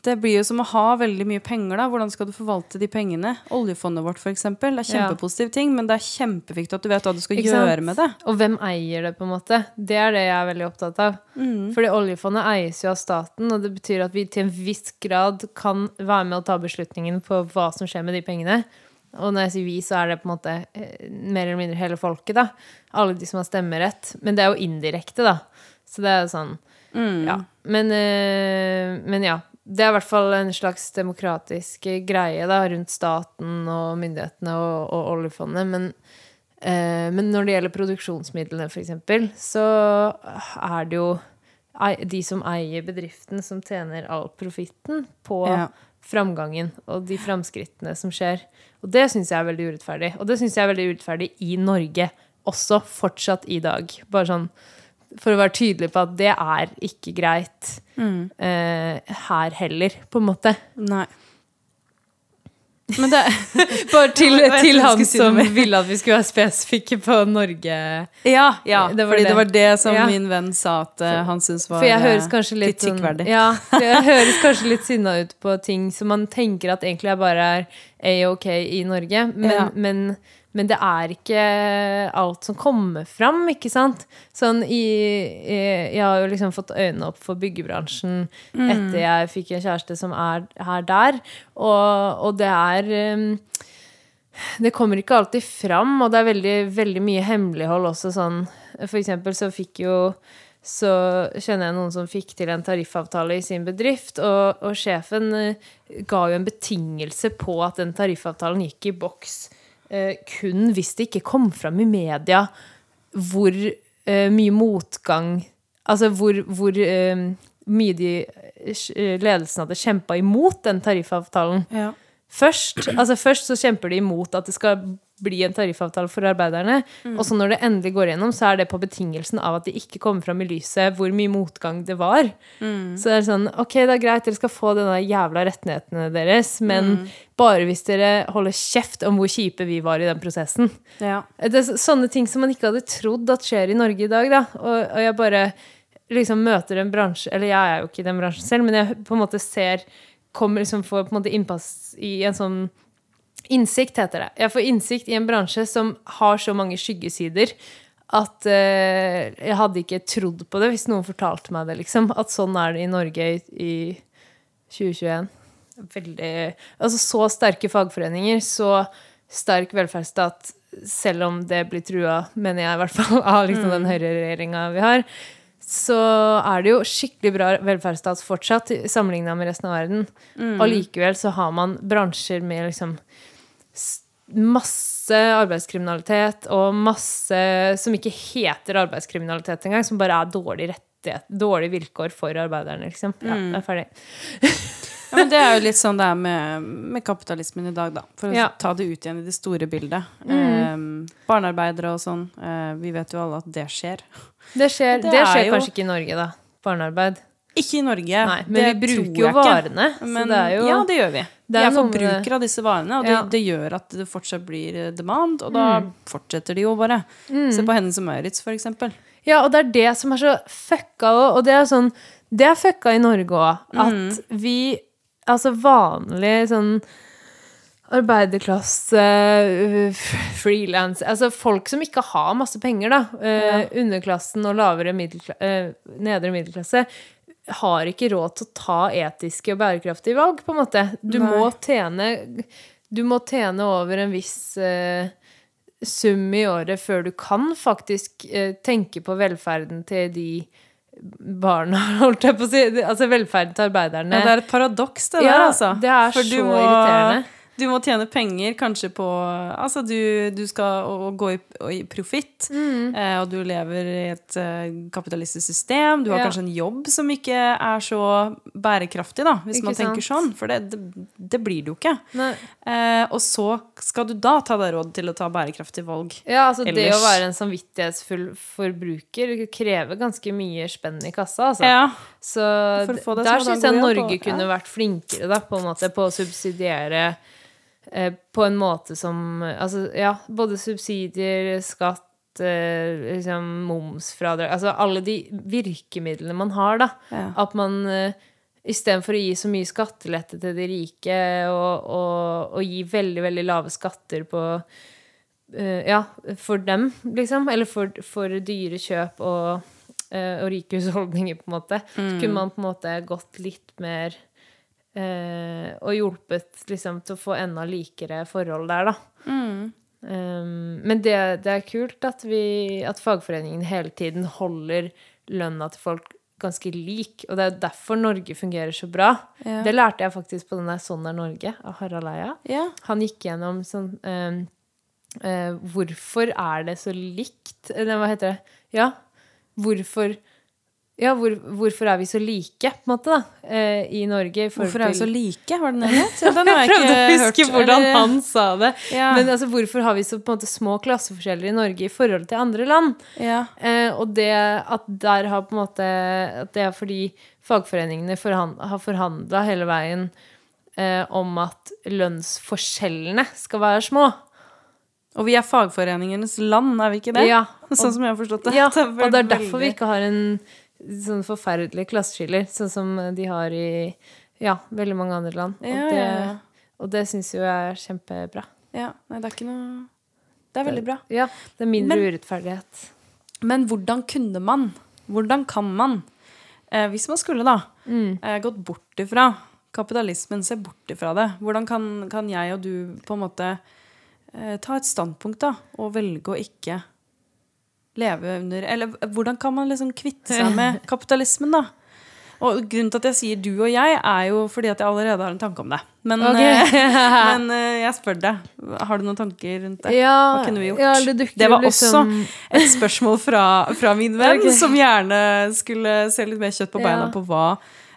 Speaker 1: det blir jo som å ha veldig mye penger, da. Hvordan skal du forvalte de pengene? Oljefondet vårt, f.eks. Det er kjempepositiv ting, men det er kjempeviktig at du vet hva du skal
Speaker 2: Ikke sant?
Speaker 1: gjøre med det.
Speaker 2: Og hvem eier det, på en måte? Det er det jeg er veldig opptatt av.
Speaker 1: Mm.
Speaker 2: Fordi oljefondet eies jo av staten, og det betyr at vi til en viss grad kan være med å ta beslutningen på hva som skjer med de pengene. Og når jeg sier vi, så er det på en måte eh, mer eller mindre hele folket, da. Alle de som har stemmerett. Men det er jo indirekte, da. Så det er jo sånn
Speaker 1: Mm.
Speaker 2: Ja. Men, eh, men ja. Det er i hvert fall en slags demokratisk greie da, rundt staten og myndighetene og, og oljefondet. Men, eh, men når det gjelder produksjonsmidlene, f.eks., så er det jo ei- de som eier bedriften, som tjener all profitten på
Speaker 1: Ja.
Speaker 2: framgangen og de framskrittene som skjer. Og det syns jeg er veldig urettferdig. Og det syns jeg er veldig urettferdig i Norge også, fortsatt i dag. Bare sånn for å være tydelig på at det er ikke greit
Speaker 1: Mm.
Speaker 2: eh, her heller, på en måte.
Speaker 1: Nei.
Speaker 2: Men det, bare til,
Speaker 1: Jeg vet
Speaker 2: til
Speaker 1: ikke hva jeg
Speaker 2: han
Speaker 1: skulle si noe
Speaker 2: som
Speaker 1: mer.
Speaker 2: ville at vi skulle være spesifikke på Norge.
Speaker 1: Ja, ja
Speaker 2: Det var
Speaker 1: fordi
Speaker 2: det.
Speaker 1: det var det som
Speaker 2: Ja.
Speaker 1: min venn sa at eh, han syntes var
Speaker 2: For jeg høres
Speaker 1: eh,
Speaker 2: kanskje litt sånn-
Speaker 1: kritikkverdig.
Speaker 2: Ja, for jeg høres kanskje litt sinna ut på ting som man tenker at egentlig er bare er A-OK i Norge, men,
Speaker 1: Ja.
Speaker 2: men, men det er ikke alt som kommer fram, ikke sant? Sånn i, i Jeg har jo liksom fått øynene opp for byggebransjen
Speaker 1: Mm.
Speaker 2: etter jeg fikk en kjæreste som er her der, og, og det er um, det kommer ikke alltid fram, og det er veldig, veldig mye hemmelighold også sånn. For eksempel så fikk jo så kjenner jeg noen som fikk til en tariffavtale i sin bedrift, og, og sjefen eh, ga jo en betingelse på at den tariffavtalen gikk i boks eh, kun hvis det ikke kom fram i media hvor eh, mye motgang Altså hvor, hvor eh, mye de, eh, ledelsen hadde kjempa imot den tariffavtalen.
Speaker 1: Ja.
Speaker 2: Først, altså først så kjemper de imot at det skal bli en tariffavtale for arbeiderne. Og så når det endelig går gjennom, så er det på betingelsen av at det ikke kommer fram i lyset hvor mye motgang det var. Så det er sånn Ok, det er greit, dere skal få denne jævla rettighetene deres, men bare hvis dere holder kjeft om hvor kjipe vi var i den prosessen.
Speaker 1: Ja.
Speaker 2: Eh, Det er så- sånne ting som man ikke hadde trodd at skjer i Norge i dag, da. Og, og jeg bare liksom møter en bransje Eller jeg er jo ikke i den bransjen selv, men jeg på en måte ser Kommer liksom får på en måte innpass i en sånn Innsikt heter det. Jeg får innsikt i en bransje som har så mange skyggesider at eh, jeg hadde ikke trodd på det hvis noen fortalte meg det, liksom. At sånn er det i Norge i, i 2021. Veldig Altså så sterke fagforeninger, så sterk velferdsstat, selv om det blir trua, mener jeg i hvert fall, av liksom den høyreregjeringa vi har, så er det jo skikkelig bra velferdsstat fortsatt sammenligna med resten av verden. Allikevel så har man bransjer med liksom masse arbeidskriminalitet og masse som ikke heter arbeidskriminalitet engang, som bare er dårlig rettighet, dårlige vilkår for arbeiderne, liksom. Ja, jeg er ferdig.
Speaker 1: Ja, men det er jo litt sånn det er med, med kapitalismen i dag, da. For å
Speaker 2: Ja. Mm.
Speaker 1: ta det ut igjen i det store bildet. Eh, barnearbeidere og sånn. eh, vi vet jo alle at det skjer.
Speaker 2: Det skjer,
Speaker 1: Det
Speaker 2: det
Speaker 1: er
Speaker 2: skjer
Speaker 1: jo-
Speaker 2: kanskje ikke i Norge, da. Barnearbeid.
Speaker 1: Ikke i Norge.
Speaker 2: Nei, men vi
Speaker 1: det
Speaker 2: bruker
Speaker 1: tror
Speaker 2: jo
Speaker 1: jeg ikke.
Speaker 2: varene, så
Speaker 1: Men,
Speaker 2: det er jo
Speaker 1: ja, det gjør vi.
Speaker 2: det
Speaker 1: vi
Speaker 2: er
Speaker 1: er
Speaker 2: noe med det.
Speaker 1: forbrukere av disse varene, og det,
Speaker 2: Ja. Mm.
Speaker 1: det gjør at det fortsatt blir eh, demand, og da fortsetter de jo bare. Se på Hennes og Maurits, for eksempel.
Speaker 2: Ja, og det er det som er så fucka òg. Og det er sånn Det er fucka i Norge òg. At vi Altså vanlig sånn Arbeiderklasse, frilans Altså folk som ikke har masse penger, da. eh, Underklassen og lavere middelklasse, nedre middelklasse har ikke råd til å ta etiske og bærekraftige valg, på en måte. Du må tjene Du må tjene over en viss eh, sum i året før du kan faktisk eh, tenke på velferden til de barna, holdt jeg på å si. Altså velferden til arbeiderne.
Speaker 1: Ja, det er et paradoks, det
Speaker 2: Ja,
Speaker 1: der, altså.
Speaker 2: det er
Speaker 1: For du
Speaker 2: så irriterende.
Speaker 1: Du må tjene penger kanskje på Altså, du, du skal å, å gå i, å- i profitt,
Speaker 2: Mm.
Speaker 1: eh, og du lever i et eh, kapitalistisk system. Du har
Speaker 2: Ja.
Speaker 1: kanskje en jobb som ikke er så bærekraftig, da, hvis
Speaker 2: Ikke
Speaker 1: man tenker sånn. For det, det, det blir det jo ikke.
Speaker 2: Nei.
Speaker 1: Eh, og så skal du da ta deg råd til å ta bærekraftige valg.
Speaker 2: Ja, altså det
Speaker 1: Ellers-
Speaker 2: å være en samvittighetsfull forbruker krever ganske mye spenn i kassa, altså.
Speaker 1: Ja.
Speaker 2: Så
Speaker 1: For å få det
Speaker 2: der
Speaker 1: som
Speaker 2: syns
Speaker 1: er
Speaker 2: jeg
Speaker 1: en god
Speaker 2: Norge
Speaker 1: jobb, og-
Speaker 2: kunne vært flinkere da, på, en måte, på å subsidiere eh, på en måte som eh, altså, Ja, både subsidier, skatt, eh, liksom momsfradrag Altså alle de virkemidlene man har, da.
Speaker 1: Ja.
Speaker 2: At man eh, Istedenfor å gi så mye skattelette til de rike og, og, og gi veldig, veldig lave skatter på eh, Ja, for dem, liksom. Eller for, for dyre kjøp og, eh, og rike husholdninger, på en måte.
Speaker 1: Mm.
Speaker 2: Så kunne man på en måte gått litt mer eh, og hjulpet liksom til å få enda likere forhold der, da.
Speaker 1: Mm.
Speaker 2: Um, men det, det er kult at, vi, at fagforeningen hele tiden holder lønna til folk ganske lik. Og det er jo derfor Norge fungerer så bra.
Speaker 1: Ja.
Speaker 2: Det lærte jeg faktisk på den der 'Sånn er Norge' av Harald Eia.
Speaker 1: Ja.
Speaker 2: Han gikk gjennom sånn um, eh, Hvorfor er det så likt? Eller hva heter det? Ja, hvorfor ja, hvor, hvorfor er vi så like, på en måte, da, eh, i Norge? i forhold
Speaker 1: Hvorfor er vi
Speaker 2: til-
Speaker 1: så like? Var det den het? Ja, den har
Speaker 2: jeg
Speaker 1: jeg
Speaker 2: prøvde å
Speaker 1: ikke
Speaker 2: huske
Speaker 1: hørt.
Speaker 2: hvordan
Speaker 1: Eller-
Speaker 2: han sa det.
Speaker 1: Ja.
Speaker 2: Men altså, hvorfor har vi så på en måte små klasseforskjeller i Norge i forhold til andre land?
Speaker 1: Ja.
Speaker 2: Eh, og det at der har på en måte At det er fordi fagforeningene forhan har forhandla hele veien eh, om at lønnsforskjellene skal være små.
Speaker 1: Og vi er fagforeningenes land, er vi ikke det?
Speaker 2: Ja, og-
Speaker 1: Sånn som jeg har forstått det.
Speaker 2: Ja,
Speaker 1: Det er
Speaker 2: og det er derfor
Speaker 1: veldig-
Speaker 2: vi ikke har en sånn forferdelig klasseskiller, sånn som de har i ja, veldig mange andre land. Og
Speaker 1: Ja,
Speaker 2: det,
Speaker 1: ja, ja.
Speaker 2: og det syns jo jeg er kjempebra.
Speaker 1: Ja, nei, det er ikke noe Det er veldig bra.
Speaker 2: Ja, det er mindre
Speaker 1: Men-
Speaker 2: urettferdighet.
Speaker 1: Men hvordan kunne man? Hvordan kan man? Eh, hvis man skulle, da, eh, gått bort ifra kapitalismen, se bort ifra det, hvordan kan, kan jeg og du på en måte eh, ta et standpunkt, da, og velge å ikke leve under Eller hvordan kan man liksom kvitte seg med kapitalismen, da? Og grunnen til at jeg sier du og jeg, er jo fordi at jeg allerede har en tanke om det. Men,
Speaker 2: Ok.
Speaker 1: eh, men eh, jeg spør deg. Har du noen tanker rundt det?
Speaker 2: Ja,
Speaker 1: Hva kunne vi gjort?
Speaker 2: ja, det dukker
Speaker 1: var
Speaker 2: jo liksom-
Speaker 1: også et spørsmål fra, fra min venn,
Speaker 2: Ok.
Speaker 1: som gjerne skulle se litt mer kjøtt på beina
Speaker 2: Ja.
Speaker 1: på hva,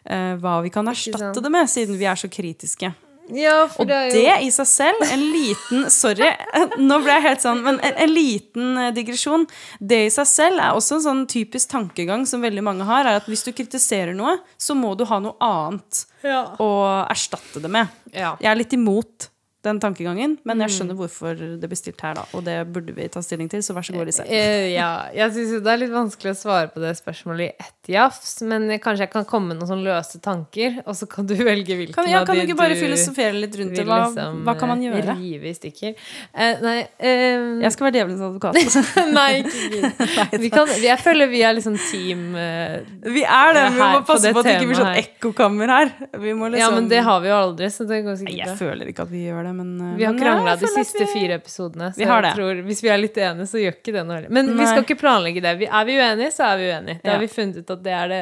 Speaker 1: eh, hva vi kan erstatte
Speaker 2: sant.
Speaker 1: det med, siden vi er så kritiske.
Speaker 2: Ja, for
Speaker 1: Og det, i seg selv, en liten Sorry, nå ble jeg helt sånn, men en, en liten eh, digresjon. Det i seg selv er også en sånn typisk tankegang som veldig mange har, er at hvis du kritiserer noe, så må du ha noe annet
Speaker 2: Ja.
Speaker 1: å erstatte det med.
Speaker 2: Ja. Mm.
Speaker 1: Jeg er litt imot den tankegangen, men jeg skjønner hvorfor det blir stilt her, da. Og det burde vi ta stilling til, så vær så god, Lise.
Speaker 2: Eh, ja. Jeg syns jo det er litt vanskelig å svare på det spørsmålet i ett jafs, men jeg- kanskje jeg kan komme med noen sånne løse tanker, og så kan du velge hvilken
Speaker 1: Kan, ja,
Speaker 2: av
Speaker 1: kan
Speaker 2: de
Speaker 1: du ikke bare
Speaker 2: du
Speaker 1: filosofere litt rundt
Speaker 2: vil
Speaker 1: det? Hva,
Speaker 2: liksom,
Speaker 1: hva kan man
Speaker 2: eh,
Speaker 1: gjøre?
Speaker 2: Rive i stykker. Eh, nei, eh,
Speaker 1: Jeg skal være djevelens advokat.
Speaker 2: nei, ikke gidd. Vi kan, jeg føler vi er liksom team eh,
Speaker 1: Vi er det, men vi
Speaker 2: Her,
Speaker 1: må
Speaker 2: på
Speaker 1: passe
Speaker 2: det
Speaker 1: på at det ikke blir sånn
Speaker 2: temaet her.
Speaker 1: ekkokammer her. Vi må liksom
Speaker 2: Ja, men det har vi jo aldri, så det går
Speaker 1: Nei,
Speaker 2: sikkert
Speaker 1: Jeg
Speaker 2: bra.
Speaker 1: føler ikke at vi gjør det, men eh,
Speaker 2: Vi har
Speaker 1: men
Speaker 2: krangla
Speaker 1: jeg
Speaker 2: de
Speaker 1: føler at
Speaker 2: siste fire episodene. Så
Speaker 1: Vi har det.
Speaker 2: Jeg tror, hvis vi er litt enige, så gjør ikke det noe heller. Men
Speaker 1: Nei.
Speaker 2: vi skal ikke planlegge det. Vi, er vi uenige, så er vi uenige. Da
Speaker 1: Ja.
Speaker 2: har vi funnet ut at det er det,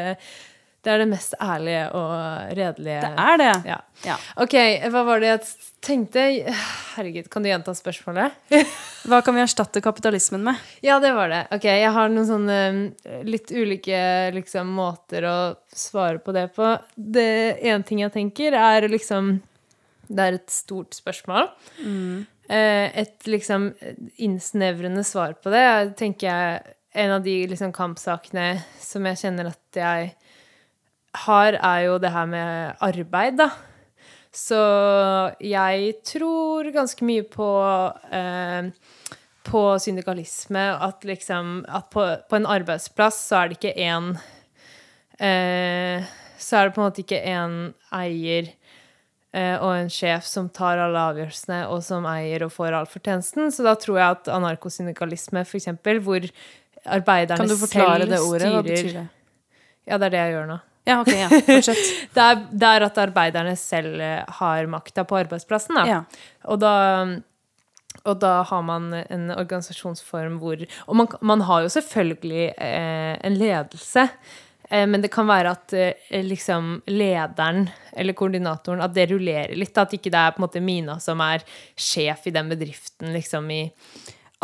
Speaker 2: det er det mest ærlige og redelige.
Speaker 1: Det er det.
Speaker 2: Ja.
Speaker 1: Ja.
Speaker 2: Ok, hva var det jeg tenkte? Herregud, kan du gjenta spørsmålet?
Speaker 1: Hva kan vi erstatte kapitalismen med?
Speaker 2: Ja, det var det. Ok, jeg har noen sånne um, litt ulike liksom, måter å svare på det på. Det ene ting jeg tenker, er liksom Det er et stort spørsmål. Eh, Et liksom innsnevrende svar på det er, tenker jeg, en av de liksom, kampsakene som jeg kjenner at jeg har, er jo det her med arbeid, da. Så jeg tror ganske mye på eh, på syndikalisme at liksom at på, på en arbeidsplass så er det ikke én eh, Så er det på en måte ikke én eier eh, og en sjef som tar alle avgjørelsene, og som eier og får all fortjenesten. Så da tror jeg at anarkosyndikalisme, for eksempel, hvor arbeiderne
Speaker 1: Kan du forklare det ordet? Hva betyr det?
Speaker 2: Ja, det er det jeg gjør nå.
Speaker 1: Ja, ok, ja. Fortsett.
Speaker 2: Det er, det er at arbeiderne selv eh, har makta på arbeidsplassen. Da.
Speaker 1: Ja.
Speaker 2: Og, da, og da har man en organisasjonsform hvor Og man, man har jo selvfølgelig eh, en ledelse. eh, Men det kan være at eh, liksom lederen eller koordinatoren at det rullerer litt. At ikke det er på en måte Mina som er sjef i den bedriften liksom i,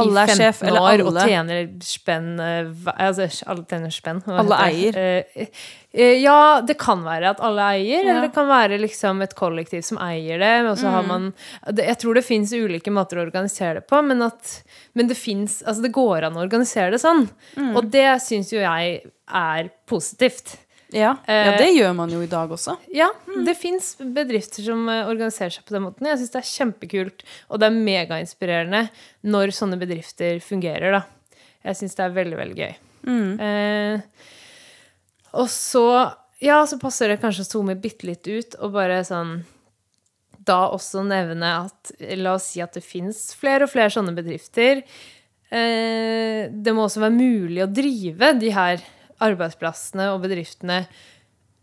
Speaker 1: Alle er
Speaker 2: i 15
Speaker 1: sjef, eller
Speaker 2: år og
Speaker 1: alle.
Speaker 2: tjener spenn eh, hva- altså, Alle tjener spenn. hva
Speaker 1: Alle
Speaker 2: heter det? Eh, eh, ja, det kan være at alle
Speaker 1: Ja.
Speaker 2: eier,
Speaker 1: Mm.
Speaker 2: eller det kan være liksom et kollektiv som eier det. Og så har man det, Jeg tror det fins ulike måter å organisere det på, men, at, men det fins Altså, det går an å organisere det sånn.
Speaker 1: Mm.
Speaker 2: Og det syns jo jeg er positivt.
Speaker 1: Ja.
Speaker 2: Eh,
Speaker 1: ja, det gjør man jo i dag også.
Speaker 2: Ja, det fins bedrifter som eh, organiserer seg på den måten. Jeg syns det er kjempekult, og det er megainspirerende når sånne bedrifter fungerer, da. Jeg syns det er veldig, veldig gøy. Eh, og så Ja, så passer det kanskje å zoome bitte litt ut og bare sånn Da også nevne at La oss si at det fins flere og flere sånne bedrifter. Eh, det må også være mulig å drive de her arbeidsplassene og bedriftene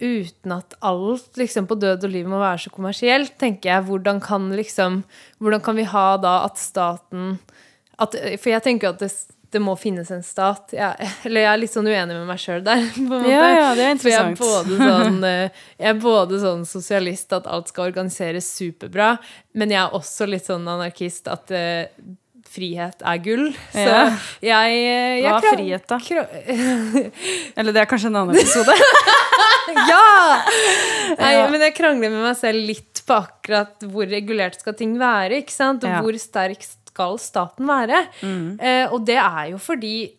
Speaker 2: uten at alt liksom, på død og liv må være så kommersielt, tenker jeg. Hvordan kan, liksom, hvordan kan vi ha da at staten at, For jeg tenker at det, det må finnes en stat. Jeg, eller jeg er litt sånn uenig med meg sjøl der. på en måte.
Speaker 1: Ja, ja, det er
Speaker 2: For jeg er
Speaker 1: interessant.
Speaker 2: både sånn, eh, jeg er både sånn sosialist at alt skal organiseres superbra, men jeg er også litt sånn anarkist at eh, frihet er gull. Så
Speaker 1: Ja.
Speaker 2: jeg, eh, jeg
Speaker 1: Hva er
Speaker 2: krav-
Speaker 1: frihet, da?
Speaker 2: krav-
Speaker 1: Eller det er kanskje en annen episode.
Speaker 2: ja! Nei,
Speaker 1: Ja.
Speaker 2: men jeg krangler med meg selv litt på akkurat hvor regulert skal ting være, ikke sant? Og
Speaker 1: Ja. Mm.
Speaker 2: hvor sterk skal staten være? Eh, og det er jo fordi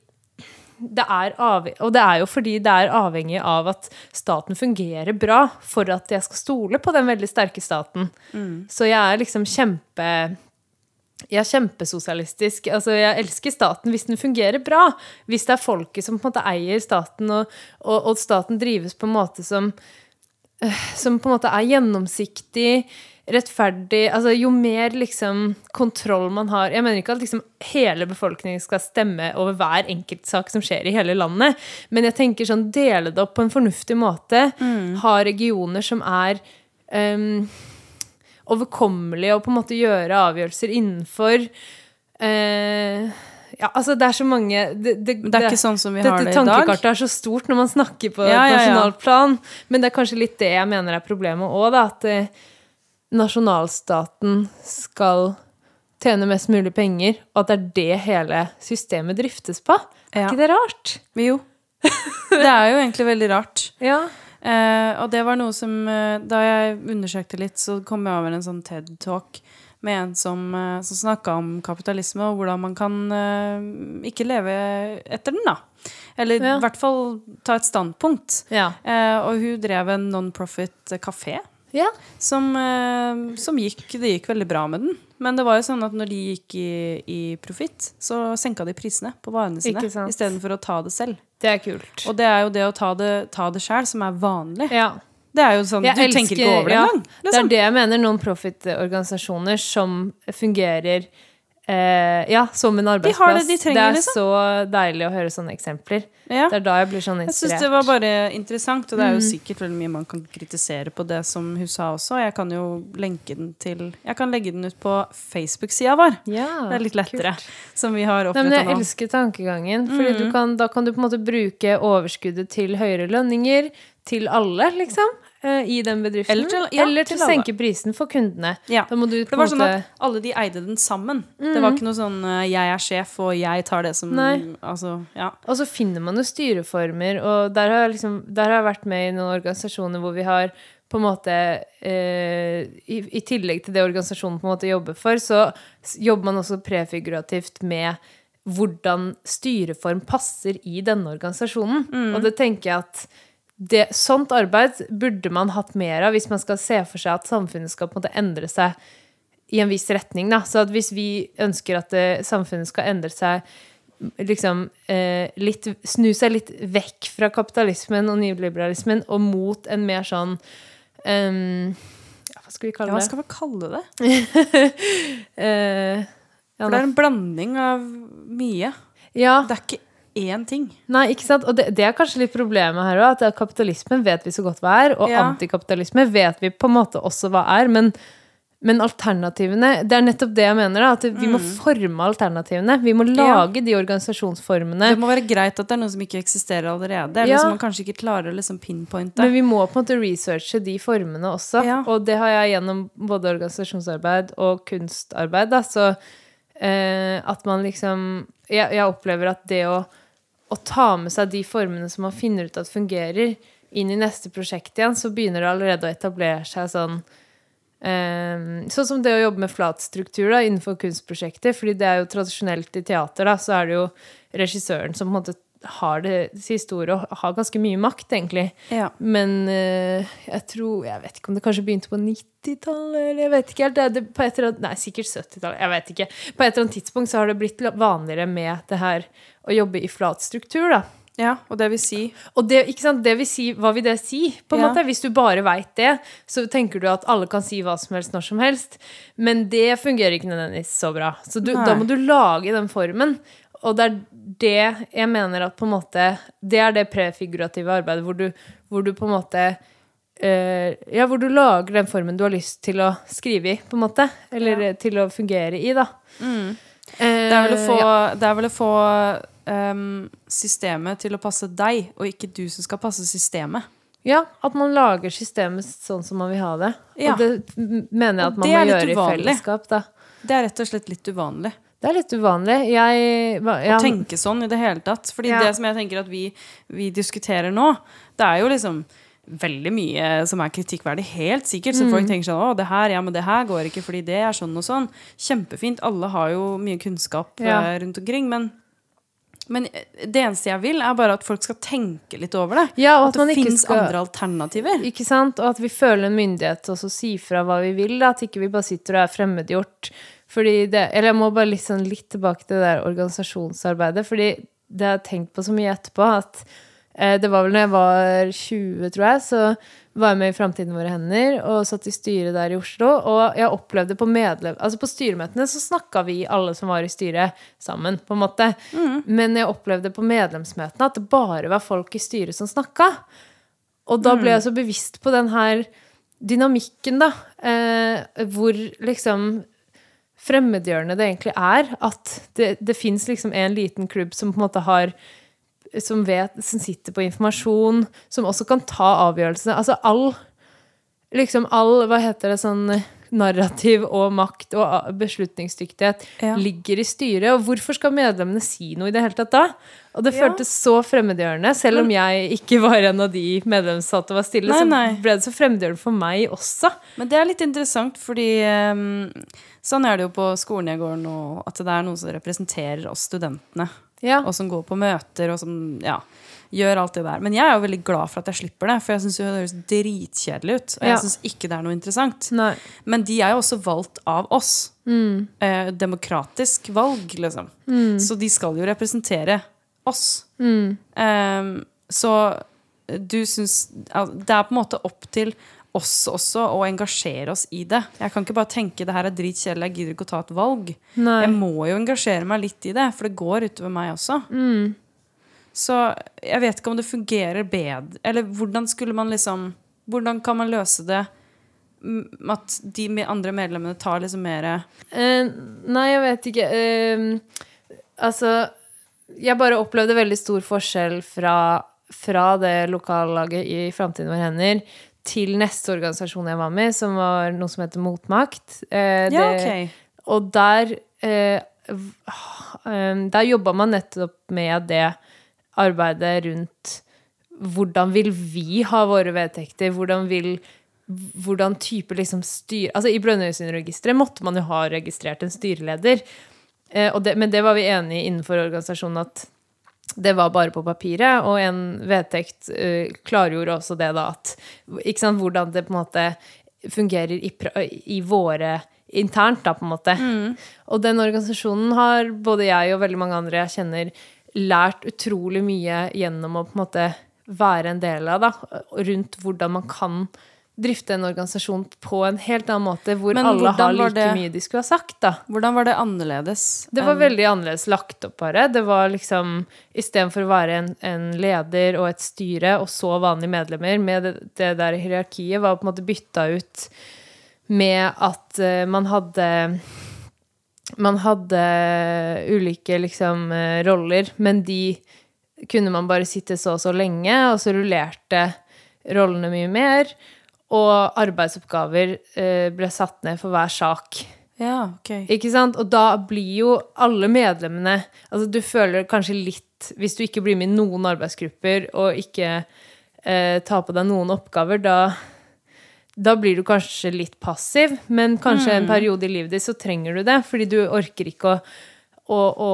Speaker 2: det er avhe- og det er jo fordi det er avhengig av at staten fungerer bra for at jeg skal stole på den veldig sterke staten.
Speaker 1: Mm.
Speaker 2: Så jeg er liksom kjempe jeg er kjempesosialistisk. Altså, jeg elsker staten hvis den fungerer bra. Hvis det er folket som på en måte eier staten, og, og, og staten drives på en måte som øh, Som på en måte er gjennomsiktig, rettferdig Altså, jo mer liksom kontroll man har Jeg mener ikke at liksom hele befolkningen skal stemme over hver enkeltsak som skjer i hele landet, men jeg tenker sånn dele det opp på en fornuftig måte.
Speaker 1: Mm.
Speaker 2: Ha regioner som er øhm, overkommelig å på en måte gjøre avgjørelser innenfor eh, Ja, altså, det er så mange Det,
Speaker 1: Men det er ikke sånn som vi har
Speaker 2: dette
Speaker 1: det i dag.
Speaker 2: tankekartet er så stort når man snakker på
Speaker 1: Ja, ja, ja.
Speaker 2: nasjonalt plan, men det er kanskje litt det jeg mener er problemet òg, da. At eh, nasjonalstaten skal tjene mest mulig penger, og at det er det hele systemet driftes på. Er
Speaker 1: Ja.
Speaker 2: ikke det rart?
Speaker 1: Men Jo. Det er jo egentlig veldig rart.
Speaker 2: Ja.
Speaker 1: Eh, og det var noe som eh, Da jeg undersøkte litt, så kom jeg over en sånn TED-talk med en som, eh, som snakka om kapitalisme og hvordan man kan eh, ikke leve etter den, da. Eller
Speaker 2: Ja.
Speaker 1: i hvert fall ta et standpunkt.
Speaker 2: Ja.
Speaker 1: Eh, og hun drev en non-profit-kafé
Speaker 2: ja.
Speaker 1: som, eh, som gikk, det gikk veldig bra med den. Men det var jo sånn at når de gikk i, i profitt, så senka de prisene på varene sine.
Speaker 2: Ikke sant.
Speaker 1: Istedenfor å ta det selv.
Speaker 2: Det er kult.
Speaker 1: Og det er jo det å ta det, ta det sjæl som er vanlig.
Speaker 2: ja.
Speaker 1: Det liksom. er jo sånn,
Speaker 2: Jeg
Speaker 1: Du tenker ikke over det
Speaker 2: ja,
Speaker 1: engang.
Speaker 2: Det er sånn det jeg mener. Non-profit-organisasjoner som fungerer eh, ja, som en
Speaker 1: det
Speaker 2: arbeidsplass.
Speaker 1: de trenger,
Speaker 2: det er
Speaker 1: liksom.
Speaker 2: så deilig å høre sånne eksempler.
Speaker 1: Ja.
Speaker 2: Det er da jeg blir sånn
Speaker 1: Jeg syns
Speaker 2: inspirert.
Speaker 1: det var bare interessant, og det er
Speaker 2: Mm.
Speaker 1: jo sikkert veldig mye man kan kritisere på det som hun sa også. Jeg kan jo lenke den til Jeg kan legge den ut på Facebook-sida vår.
Speaker 2: ja,
Speaker 1: Det er litt lettere.
Speaker 2: kult.
Speaker 1: Som vi har
Speaker 2: Nei, men
Speaker 1: oppretta
Speaker 2: jeg
Speaker 1: nå. Mm.
Speaker 2: elsker tankegangen. Fordi du kan, da kan du på en måte bruke overskuddet til høyere lønninger til alle, liksom. eh, I den bedriften.
Speaker 1: Eller til- ja,
Speaker 2: Eller til
Speaker 1: til alle.
Speaker 2: senke prisen for kundene.
Speaker 1: Ja.
Speaker 2: Da må du på
Speaker 1: Det
Speaker 2: en
Speaker 1: var sånn
Speaker 2: måte Mm.
Speaker 1: at alle de eide den sammen. Det var ikke noe sånn eh, 'jeg er sjef, og jeg tar det som
Speaker 2: Nei.
Speaker 1: Altså, ja.
Speaker 2: Og så finner man jo styreformer, og der har jeg, liksom, der har jeg vært med i noen organisasjoner hvor vi har på en måte eh, i, I tillegg til det organisasjonen på en måte jobber for, så s- jobber man også prefigurativt med hvordan styreform passer i denne organisasjonen.
Speaker 1: Mm.
Speaker 2: Og det tenker jeg at det, sånt arbeid burde man hatt mer av hvis man skal se for seg at samfunnet skal på en måte endre seg i en viss retning. Da. Så at hvis vi ønsker at eh, samfunnet skal endre seg liksom, eh, litt, Snu seg litt vekk fra kapitalismen og nyliberalismen og mot en mer sånn ehm, ja, Hva skal vi
Speaker 1: ja.
Speaker 2: kalle
Speaker 1: Hva
Speaker 2: det?
Speaker 1: skal vi kalle det?
Speaker 2: Eh, ja,
Speaker 1: For det
Speaker 2: nå-
Speaker 1: er en blanding av mye.
Speaker 2: ja,
Speaker 1: Det er ikke én ting.
Speaker 2: Nei, ikke sant? Og det, det er kanskje litt problemet her òg. At det er kapitalismen vet vi så godt hva er, og
Speaker 1: Ja.
Speaker 2: antikapitalisme vet vi på en måte også hva er. Men, men alternativene Det er nettopp det jeg mener. da, At vi må forme alternativene. Vi må lage de organisasjonsformene.
Speaker 1: Det må være greit at det er noe som ikke eksisterer allerede. Eller
Speaker 2: Ja.
Speaker 1: som man kanskje ikke klarer å liksom pinpointe.
Speaker 2: Men vi må på en måte researche de formene også.
Speaker 1: Ja.
Speaker 2: Og det har jeg gjennom både organisasjonsarbeid og kunstarbeid. Da. Så eh, at man liksom jeg, jeg opplever at det å, å ta med seg de formene som man finner ut at fungerer, inn i neste prosjekt igjen, så begynner det allerede å etablere seg sånn Ehm, sånn som det å jobbe med flat struktur da, innenfor kunstprosjekter. fordi det er jo tradisjonelt i teater, da, så er det jo regissøren som på en måte har det siste ordet og har ganske mye makt, egentlig.
Speaker 1: Ja.
Speaker 2: Men eh, jeg tror Jeg vet ikke om det kanskje begynte på 90-tallet, eller jeg vet ikke helt. Det, er det, på et eller annet, nei, sikkert 70-tallet. Jeg vet ikke. På et eller annet tidspunkt så har det blitt la- vanligere med det her å jobbe i flat struktur, da.
Speaker 1: Ja, og det vil si
Speaker 2: Og det, ikke sant? det vil si, hva vil det si? På en
Speaker 1: Ja.
Speaker 2: måte? Hvis du bare veit det, så tenker du at alle kan si hva som helst når som helst. Men det fungerer ikke nødvendigvis så bra. Så du,
Speaker 1: Nei.
Speaker 2: da må du lage den formen. Og det er det jeg mener at på en måte Det er det prefigurative arbeidet hvor du, hvor du på en måte eh, Ja, hvor du lager den formen du har lyst til å skrive i, på en måte. Eller eh, til å fungere i, da.
Speaker 1: Det er vel å få,
Speaker 2: Mm. Eh, ja.
Speaker 1: det er vel å få ehm, systemet til å passe deg, og ikke du som skal passe systemet.
Speaker 2: Ja, at man lager systemet sånn som man vil ha det.
Speaker 1: Ja.
Speaker 2: Og det m- mener jeg
Speaker 1: Og
Speaker 2: at man
Speaker 1: det
Speaker 2: må
Speaker 1: er litt
Speaker 2: gjøre
Speaker 1: uvanlig.
Speaker 2: i fellesskap. Da.
Speaker 1: Det er rett og slett litt uvanlig
Speaker 2: Det er litt uvanlig. Jeg hva- ja,
Speaker 1: å tenke sånn i det hele tatt. Fordi
Speaker 2: Ja.
Speaker 1: det som jeg tenker at vi, vi diskuterer nå, det er jo liksom veldig mye som er kritikkverdig, helt sikkert. Så
Speaker 2: Mm.
Speaker 1: folk tenker sånn Å, det her, ja, men det her går ikke fordi det er sånn og sånn. Kjempefint. Alle har jo mye kunnskap
Speaker 2: Ja.
Speaker 1: eh, rundt omkring. Men, men eh, det eneste jeg vil, er bare at folk skal tenke litt over det.
Speaker 2: ja, og
Speaker 1: At,
Speaker 2: at man
Speaker 1: det
Speaker 2: ikke
Speaker 1: fins
Speaker 2: skal
Speaker 1: andre alternativer.
Speaker 2: ikke sant? Og at vi føler en myndighet til å si fra hva vi vil. Da. At ikke vi bare sitter og er fremmedgjort. Fordi det, eller jeg må bare litt, sånn, litt tilbake til det der organisasjonsarbeidet. Fordi det har jeg tenkt på så mye etterpå at eh, det var vel når jeg var 20, tror jeg, så var jeg med i Framtiden våre hender og satt i styret der i Oslo. Og jeg opplevde på medlem... Altså på styremøtene så snakka vi alle som var i styret, sammen, på en måte. Men jeg opplevde på medlemsmøtene at det bare var folk i styret som snakka. Og da ble jeg så bevisst på den her dynamikken, da. Eh, hvor liksom fremmedgjørende det egentlig er. At det, det fins liksom en liten klubb som på en måte har som, vet, som sitter på informasjon, som også kan ta avgjørelsene. Altså all liksom all, hva heter det, sånn narrativ og makt og a- beslutningsdyktighet
Speaker 1: Ja.
Speaker 2: ligger i styret. Og hvorfor skal medlemmene si noe i det hele tatt da? Og det
Speaker 1: Ja.
Speaker 2: føltes så fremmedgjørende. Selv om jeg ikke var en av de medlemssatte og var stille,
Speaker 1: Nei, nei.
Speaker 2: så ble det så fremmedgjørende for meg også.
Speaker 1: Men det er litt interessant, fordi ehm, sånn er det jo på skolen jeg går nå, at det er noen som representerer oss studentene,
Speaker 2: Ja.
Speaker 1: og som går på møter, og som ja, gjør alt det der. Men jeg er jo veldig glad for at jeg slipper det, for jeg syns det høres dritkjedelig ut, og
Speaker 2: Ja.
Speaker 1: jeg synes syns ikke det er noe interessant.
Speaker 2: Nei.
Speaker 1: Men de er jo også valgt av oss. Eh, demokratisk valg, liksom. Så de skal jo representere oss. Ehm, så du syns al- Det er på en måte opp til oss også å engasjere oss i det. Jeg kan ikke bare tenke det her er dritkjedelig, jeg gidder ikke å ta et valg.
Speaker 2: Nei.
Speaker 1: Jeg må jo engasjere meg litt i det, for det går utover meg også.
Speaker 2: Mm.
Speaker 1: Så jeg vet ikke om det fungerer bedre Eller hvordan skulle man liksom Hvordan kan man løse det m- at de med andre medlemmene tar liksom mer
Speaker 2: Eh, nei, jeg vet ikke. Eh, altså, jeg bare opplevde veldig stor forskjell fra, fra det lokallaget i Framtiden vår hender til neste organisasjon jeg var med i, som var noe som heter Motmakt. Eh,
Speaker 1: Ja,
Speaker 2: det-
Speaker 1: ok.
Speaker 2: Og der eh, v- eh, Der jobba man nettopp med det arbeidet rundt hvordan vil vi ha våre vedtekter? Hvordan vil hvordan type liksom styr... Altså, I Brønnøysundregisteret måtte man jo ha registrert en styreleder. Eh, og det, men det var vi enige i innenfor organisasjonen at det var bare på papiret, og en vedtekt eh, klargjorde også det da at ikke sant, Hvordan det på en måte fungerer i, pra- i våre internt, da, på en måte.
Speaker 1: Mm.
Speaker 2: Og den organisasjonen har både jeg og veldig mange andre jeg kjenner, lært utrolig mye gjennom å på en måte være en del av, da, rundt hvordan man kan drifte en organisasjon på en helt annen måte, hvor
Speaker 1: Men
Speaker 2: alle
Speaker 1: hvordan
Speaker 2: har
Speaker 1: var
Speaker 2: like
Speaker 1: det-
Speaker 2: mye de skulle ha sagt, da.
Speaker 1: Hvordan var det annerledes?
Speaker 2: Det var veldig annerledes lagt opp, bare. Det var liksom Istedenfor å være en, en leder og et styre, og så vanlige medlemmer, med det, det der hierarkiet, var på en måte bytta ut med at eh, man hadde Man hadde ulike liksom eh, roller, men de kunne man bare sitte så og så lenge, og så rullerte rollene mye mer. Og arbeidsoppgaver eh, ble satt ned for hver sak.
Speaker 1: Ja, ok.
Speaker 2: Ikke sant? Og da blir jo alle medlemmene Altså, du føler kanskje litt Hvis du ikke blir med i noen arbeidsgrupper og ikke eh, tar på deg noen oppgaver, da, da blir du kanskje litt passiv, men kanskje
Speaker 1: Mm.
Speaker 2: en periode i livet ditt så trenger du det, fordi du orker ikke å å, å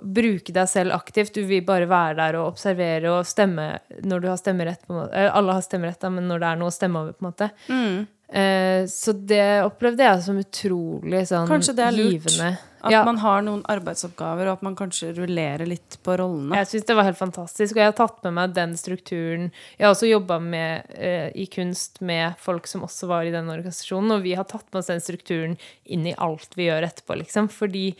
Speaker 2: bruke deg selv aktivt. Du vil bare være der og observere og stemme
Speaker 1: Mm.
Speaker 2: når du har stemmerett. På en måte. Eh, Alle har stemmerett, da, men når det er noe å stemme over, på en måte. Eh, så det opplevde jeg som utrolig sånn
Speaker 1: Kanskje det er lurt.
Speaker 2: givende.
Speaker 1: At
Speaker 2: Ja.
Speaker 1: man har noen arbeidsoppgaver, og at man kanskje rullerer litt på rollene.
Speaker 2: Jeg syns det var helt fantastisk, og jeg har tatt med meg den strukturen. Jeg har også jobba eh, i kunst med folk som også var i den organisasjonen, og vi har tatt med oss den strukturen inn i alt vi gjør etterpå, liksom. Fordi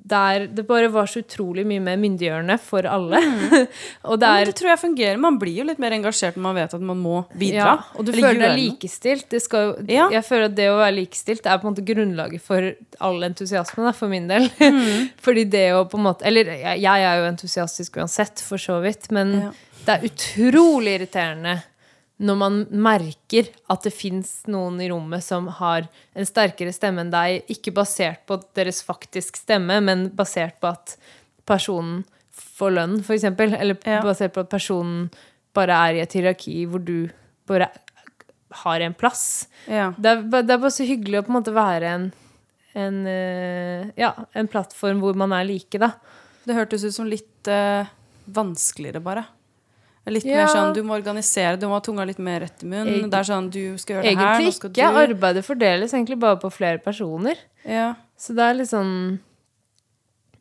Speaker 2: der det bare var så utrolig mye mer myndiggjørende for alle.
Speaker 1: Mm.
Speaker 2: og det
Speaker 1: Ja, men
Speaker 2: er
Speaker 1: det tror jeg fungerer. Man blir jo litt mer engasjert når man vet at man må bidra.
Speaker 2: Ja, og du
Speaker 1: eller
Speaker 2: føler
Speaker 1: gjøre
Speaker 2: deg likestilt. Det skal jo,
Speaker 1: Ja.
Speaker 2: Jeg føler at det å være likestilt det er på en måte grunnlaget for all entusiasme, da, for min del.
Speaker 1: Mm.
Speaker 2: Fordi det å på en måte Eller jeg, jeg er jo entusiastisk uansett, for så vidt,
Speaker 1: Ja.
Speaker 2: men det er utrolig irriterende når man merker at det fins noen i rommet som har en sterkere stemme enn deg, ikke basert på deres faktisk stemme, men basert på at personen får lønn, f.eks., eller
Speaker 1: Ja.
Speaker 2: basert på at personen bare er i et hierarki hvor du bare har en plass.
Speaker 1: Ja.
Speaker 2: Det er, ba- det er bare så hyggelig å på en måte være en, en, eh, ja, en plattform hvor man er like, da.
Speaker 1: Det hørtes ut som litt eh, vanskeligere, bare. Litt
Speaker 2: Ja.
Speaker 1: mer sånn du må organisere, du må ha tunga litt mer rett i munnen.
Speaker 2: Egen-
Speaker 1: det er sånn du skal gjøre det her,
Speaker 2: Egentlig
Speaker 1: nå skal du
Speaker 2: ikke. Arbeidet fordeles egentlig bare på flere personer.
Speaker 1: ja.
Speaker 2: Så det er litt sånn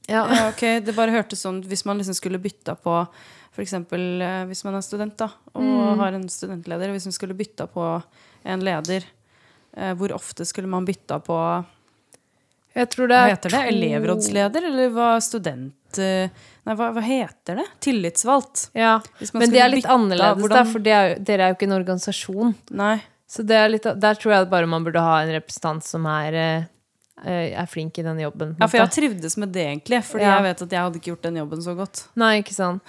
Speaker 2: Ja.
Speaker 1: ja, ok. Det bare hørtes sånn hvis man liksom skulle bytta på F.eks. hvis man er student da, og
Speaker 2: Mm.
Speaker 1: har en studentleder. Hvis man skulle bytta på en leder, eh, hvor ofte skulle man bytta på
Speaker 2: Jeg tror det
Speaker 1: Hva
Speaker 2: er
Speaker 1: heter det?
Speaker 2: to-
Speaker 1: Elevrådsleder? Eller hva student eh, Nei, hva, hva heter det? Tillitsvalgt.
Speaker 2: Ja.
Speaker 1: Hvis man
Speaker 2: Men det
Speaker 1: skulle
Speaker 2: er litt
Speaker 1: bytte,
Speaker 2: annerledes,
Speaker 1: hvordan-
Speaker 2: da, for det er, jo- dere er jo ikke en organisasjon.
Speaker 1: Nei.
Speaker 2: Så det er litt, der tror jeg bare man burde ha en representant som er, eh, eh, er flink i den jobben. på en
Speaker 1: Ja, for jeg
Speaker 2: måte.
Speaker 1: har trivdes med det, egentlig. Fordi
Speaker 2: Ja.
Speaker 1: jeg vet at jeg hadde ikke gjort den jobben så godt.
Speaker 2: Nei, ikke sant.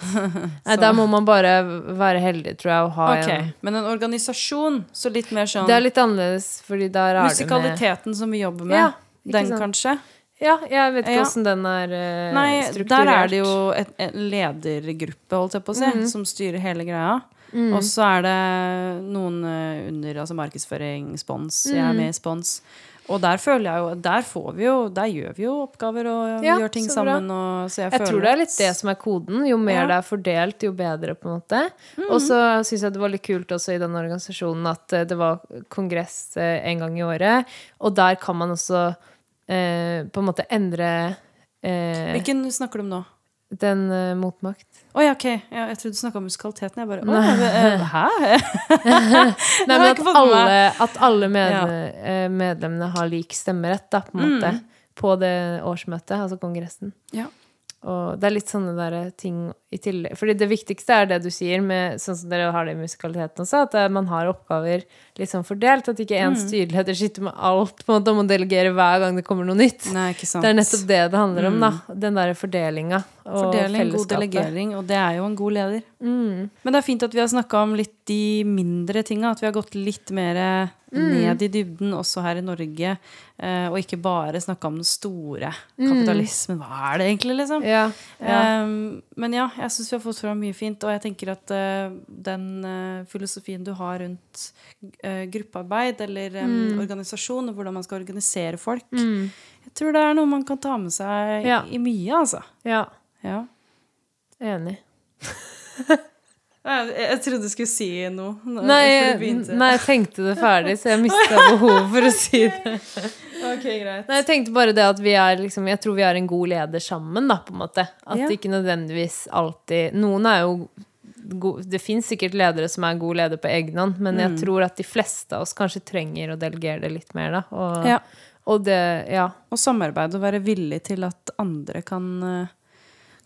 Speaker 2: Nei, der må man bare være heldig, tror jeg, og ha
Speaker 1: Ok,
Speaker 2: en
Speaker 1: Men en organisasjon, så litt mer sånn
Speaker 2: Det er litt annerledes, fordi der er det med
Speaker 1: Musikaliteten som vi jobber med,
Speaker 2: Ja, ikke
Speaker 1: den
Speaker 2: sant.
Speaker 1: kanskje?
Speaker 2: Ja, jeg vet ikke
Speaker 1: Ja.
Speaker 2: åssen den er eh,
Speaker 1: Nei,
Speaker 2: strukturert.
Speaker 1: der er det jo et, en ledergruppe, holdt jeg på å si,
Speaker 2: Mhm.
Speaker 1: som styrer hele greia. Og så er det noen eh, under, altså markedsføring, spons. Jeg
Speaker 2: Mhm.
Speaker 1: er med i spons. Og der føler jeg jo Der får vi jo Der gjør vi jo oppgaver og
Speaker 2: Ja,
Speaker 1: gjør ting
Speaker 2: så bra.
Speaker 1: sammen. Og, så jeg,
Speaker 2: Jeg
Speaker 1: føler
Speaker 2: tror det er litt
Speaker 1: at-
Speaker 2: det som er koden. Jo
Speaker 1: Ja. Mm.
Speaker 2: mer det er fordelt, jo bedre, på en måte. Og så syns jeg det var litt kult også i den organisasjonen at eh, det var kongress eh, en gang i året. Og der kan man også eh, på en måte endre eh,
Speaker 1: Hvilken snakker du om nå?
Speaker 2: den eh, motmakt.
Speaker 1: Å ja, ok. Ja, jeg trodde du snakka om musikaliteten. Jeg bare Å, hæ?
Speaker 2: Nei,
Speaker 1: har
Speaker 2: men
Speaker 1: jeg
Speaker 2: at
Speaker 1: ikke fått med meg.
Speaker 2: alle, at alle med, eh, medlemmene har lik stemmerett, da, på en
Speaker 1: Mm.
Speaker 2: måte. På det årsmøtet, altså kongressen.
Speaker 1: Ja.
Speaker 2: Og det er litt sånne der ting i tillegg. Fordi det viktigste er det du sier, med, sånn som dere har det i musikaliteten også, at eh, man har oppgaver litt sånn fordelt. At ikke én
Speaker 1: Mm.
Speaker 2: styreleder sitter med alt på en måte, og må delegere hver gang det kommer noe nytt.
Speaker 1: Nei, ikke sant.
Speaker 2: Det er nettopp det det handler om, da. Den derre fordelinga og
Speaker 1: Mm. Fordeling, god
Speaker 2: fellesskapet. Mm.
Speaker 1: delegering, og det er jo en god leder. Men det er fint at vi har snakka om litt de mindre tinga. At vi har gått litt mer eh, ned i dybden også her i Norge. eh, Og ikke bare snakka om den store kapitalismen. Hva er det egentlig, liksom?
Speaker 2: Ja, ja.
Speaker 1: Um, men ja, jeg syns vi har fått fram mye fint. Og jeg tenker at eh, den eh, filosofien du har rundt eh, gruppearbeid eller eh,
Speaker 2: Mm.
Speaker 1: organisasjon, og hvordan man skal organisere folk, jeg tror det er noe man kan ta med seg
Speaker 2: Ja.
Speaker 1: i mye, altså.
Speaker 2: ja.
Speaker 1: Ja.
Speaker 2: Enig.
Speaker 1: Jeg, jeg trodde du skulle si noe. nå- før
Speaker 2: Nei, eh,
Speaker 1: du begynte.
Speaker 2: nei, jeg tenkte det ferdig, så jeg mista behovet for å si det.
Speaker 1: Ok, greit.
Speaker 2: Nei, Jeg tenkte bare det at vi er liksom, jeg tror vi er en god leder sammen, da, på en måte. At
Speaker 1: Ja.
Speaker 2: det ikke nødvendigvis alltid Noen er jo god, Det fins sikkert ledere som er god leder på egen hånd, men
Speaker 1: Mm.
Speaker 2: jeg tror at de fleste av oss kanskje trenger å delegere det litt mer, da. Og,
Speaker 1: Ja.
Speaker 2: og det Ja.
Speaker 1: Og samarbeide og være villig til at andre kan eh,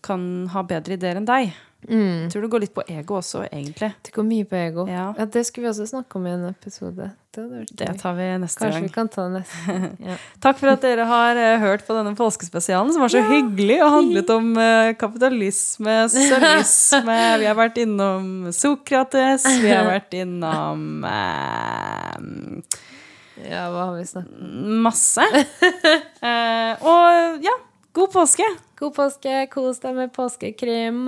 Speaker 1: kan ha bedre ideer enn deg. Jeg tror det går litt på ego også, egentlig.
Speaker 2: Mm. Det går mye på ego. Ja.
Speaker 1: Ja.
Speaker 2: Det skulle vi også snakke om i en episode. Det hadde vært
Speaker 1: Det
Speaker 2: gøy.
Speaker 1: tar vi neste
Speaker 2: Kanskje
Speaker 1: gang.
Speaker 2: vi kan ta det neste. Ja.
Speaker 1: Takk for at dere har eh, hørt på denne påskespesialen, som var så hyggelig og handlet om eh, kapitalisme, sosialisme. Vi har vært innom Sokrates, vi har vært innom eh,
Speaker 2: ja, hva har vi snakket om?
Speaker 1: masse. Eh, og ja, god påske!
Speaker 2: God påske, kos deg med påskekrim.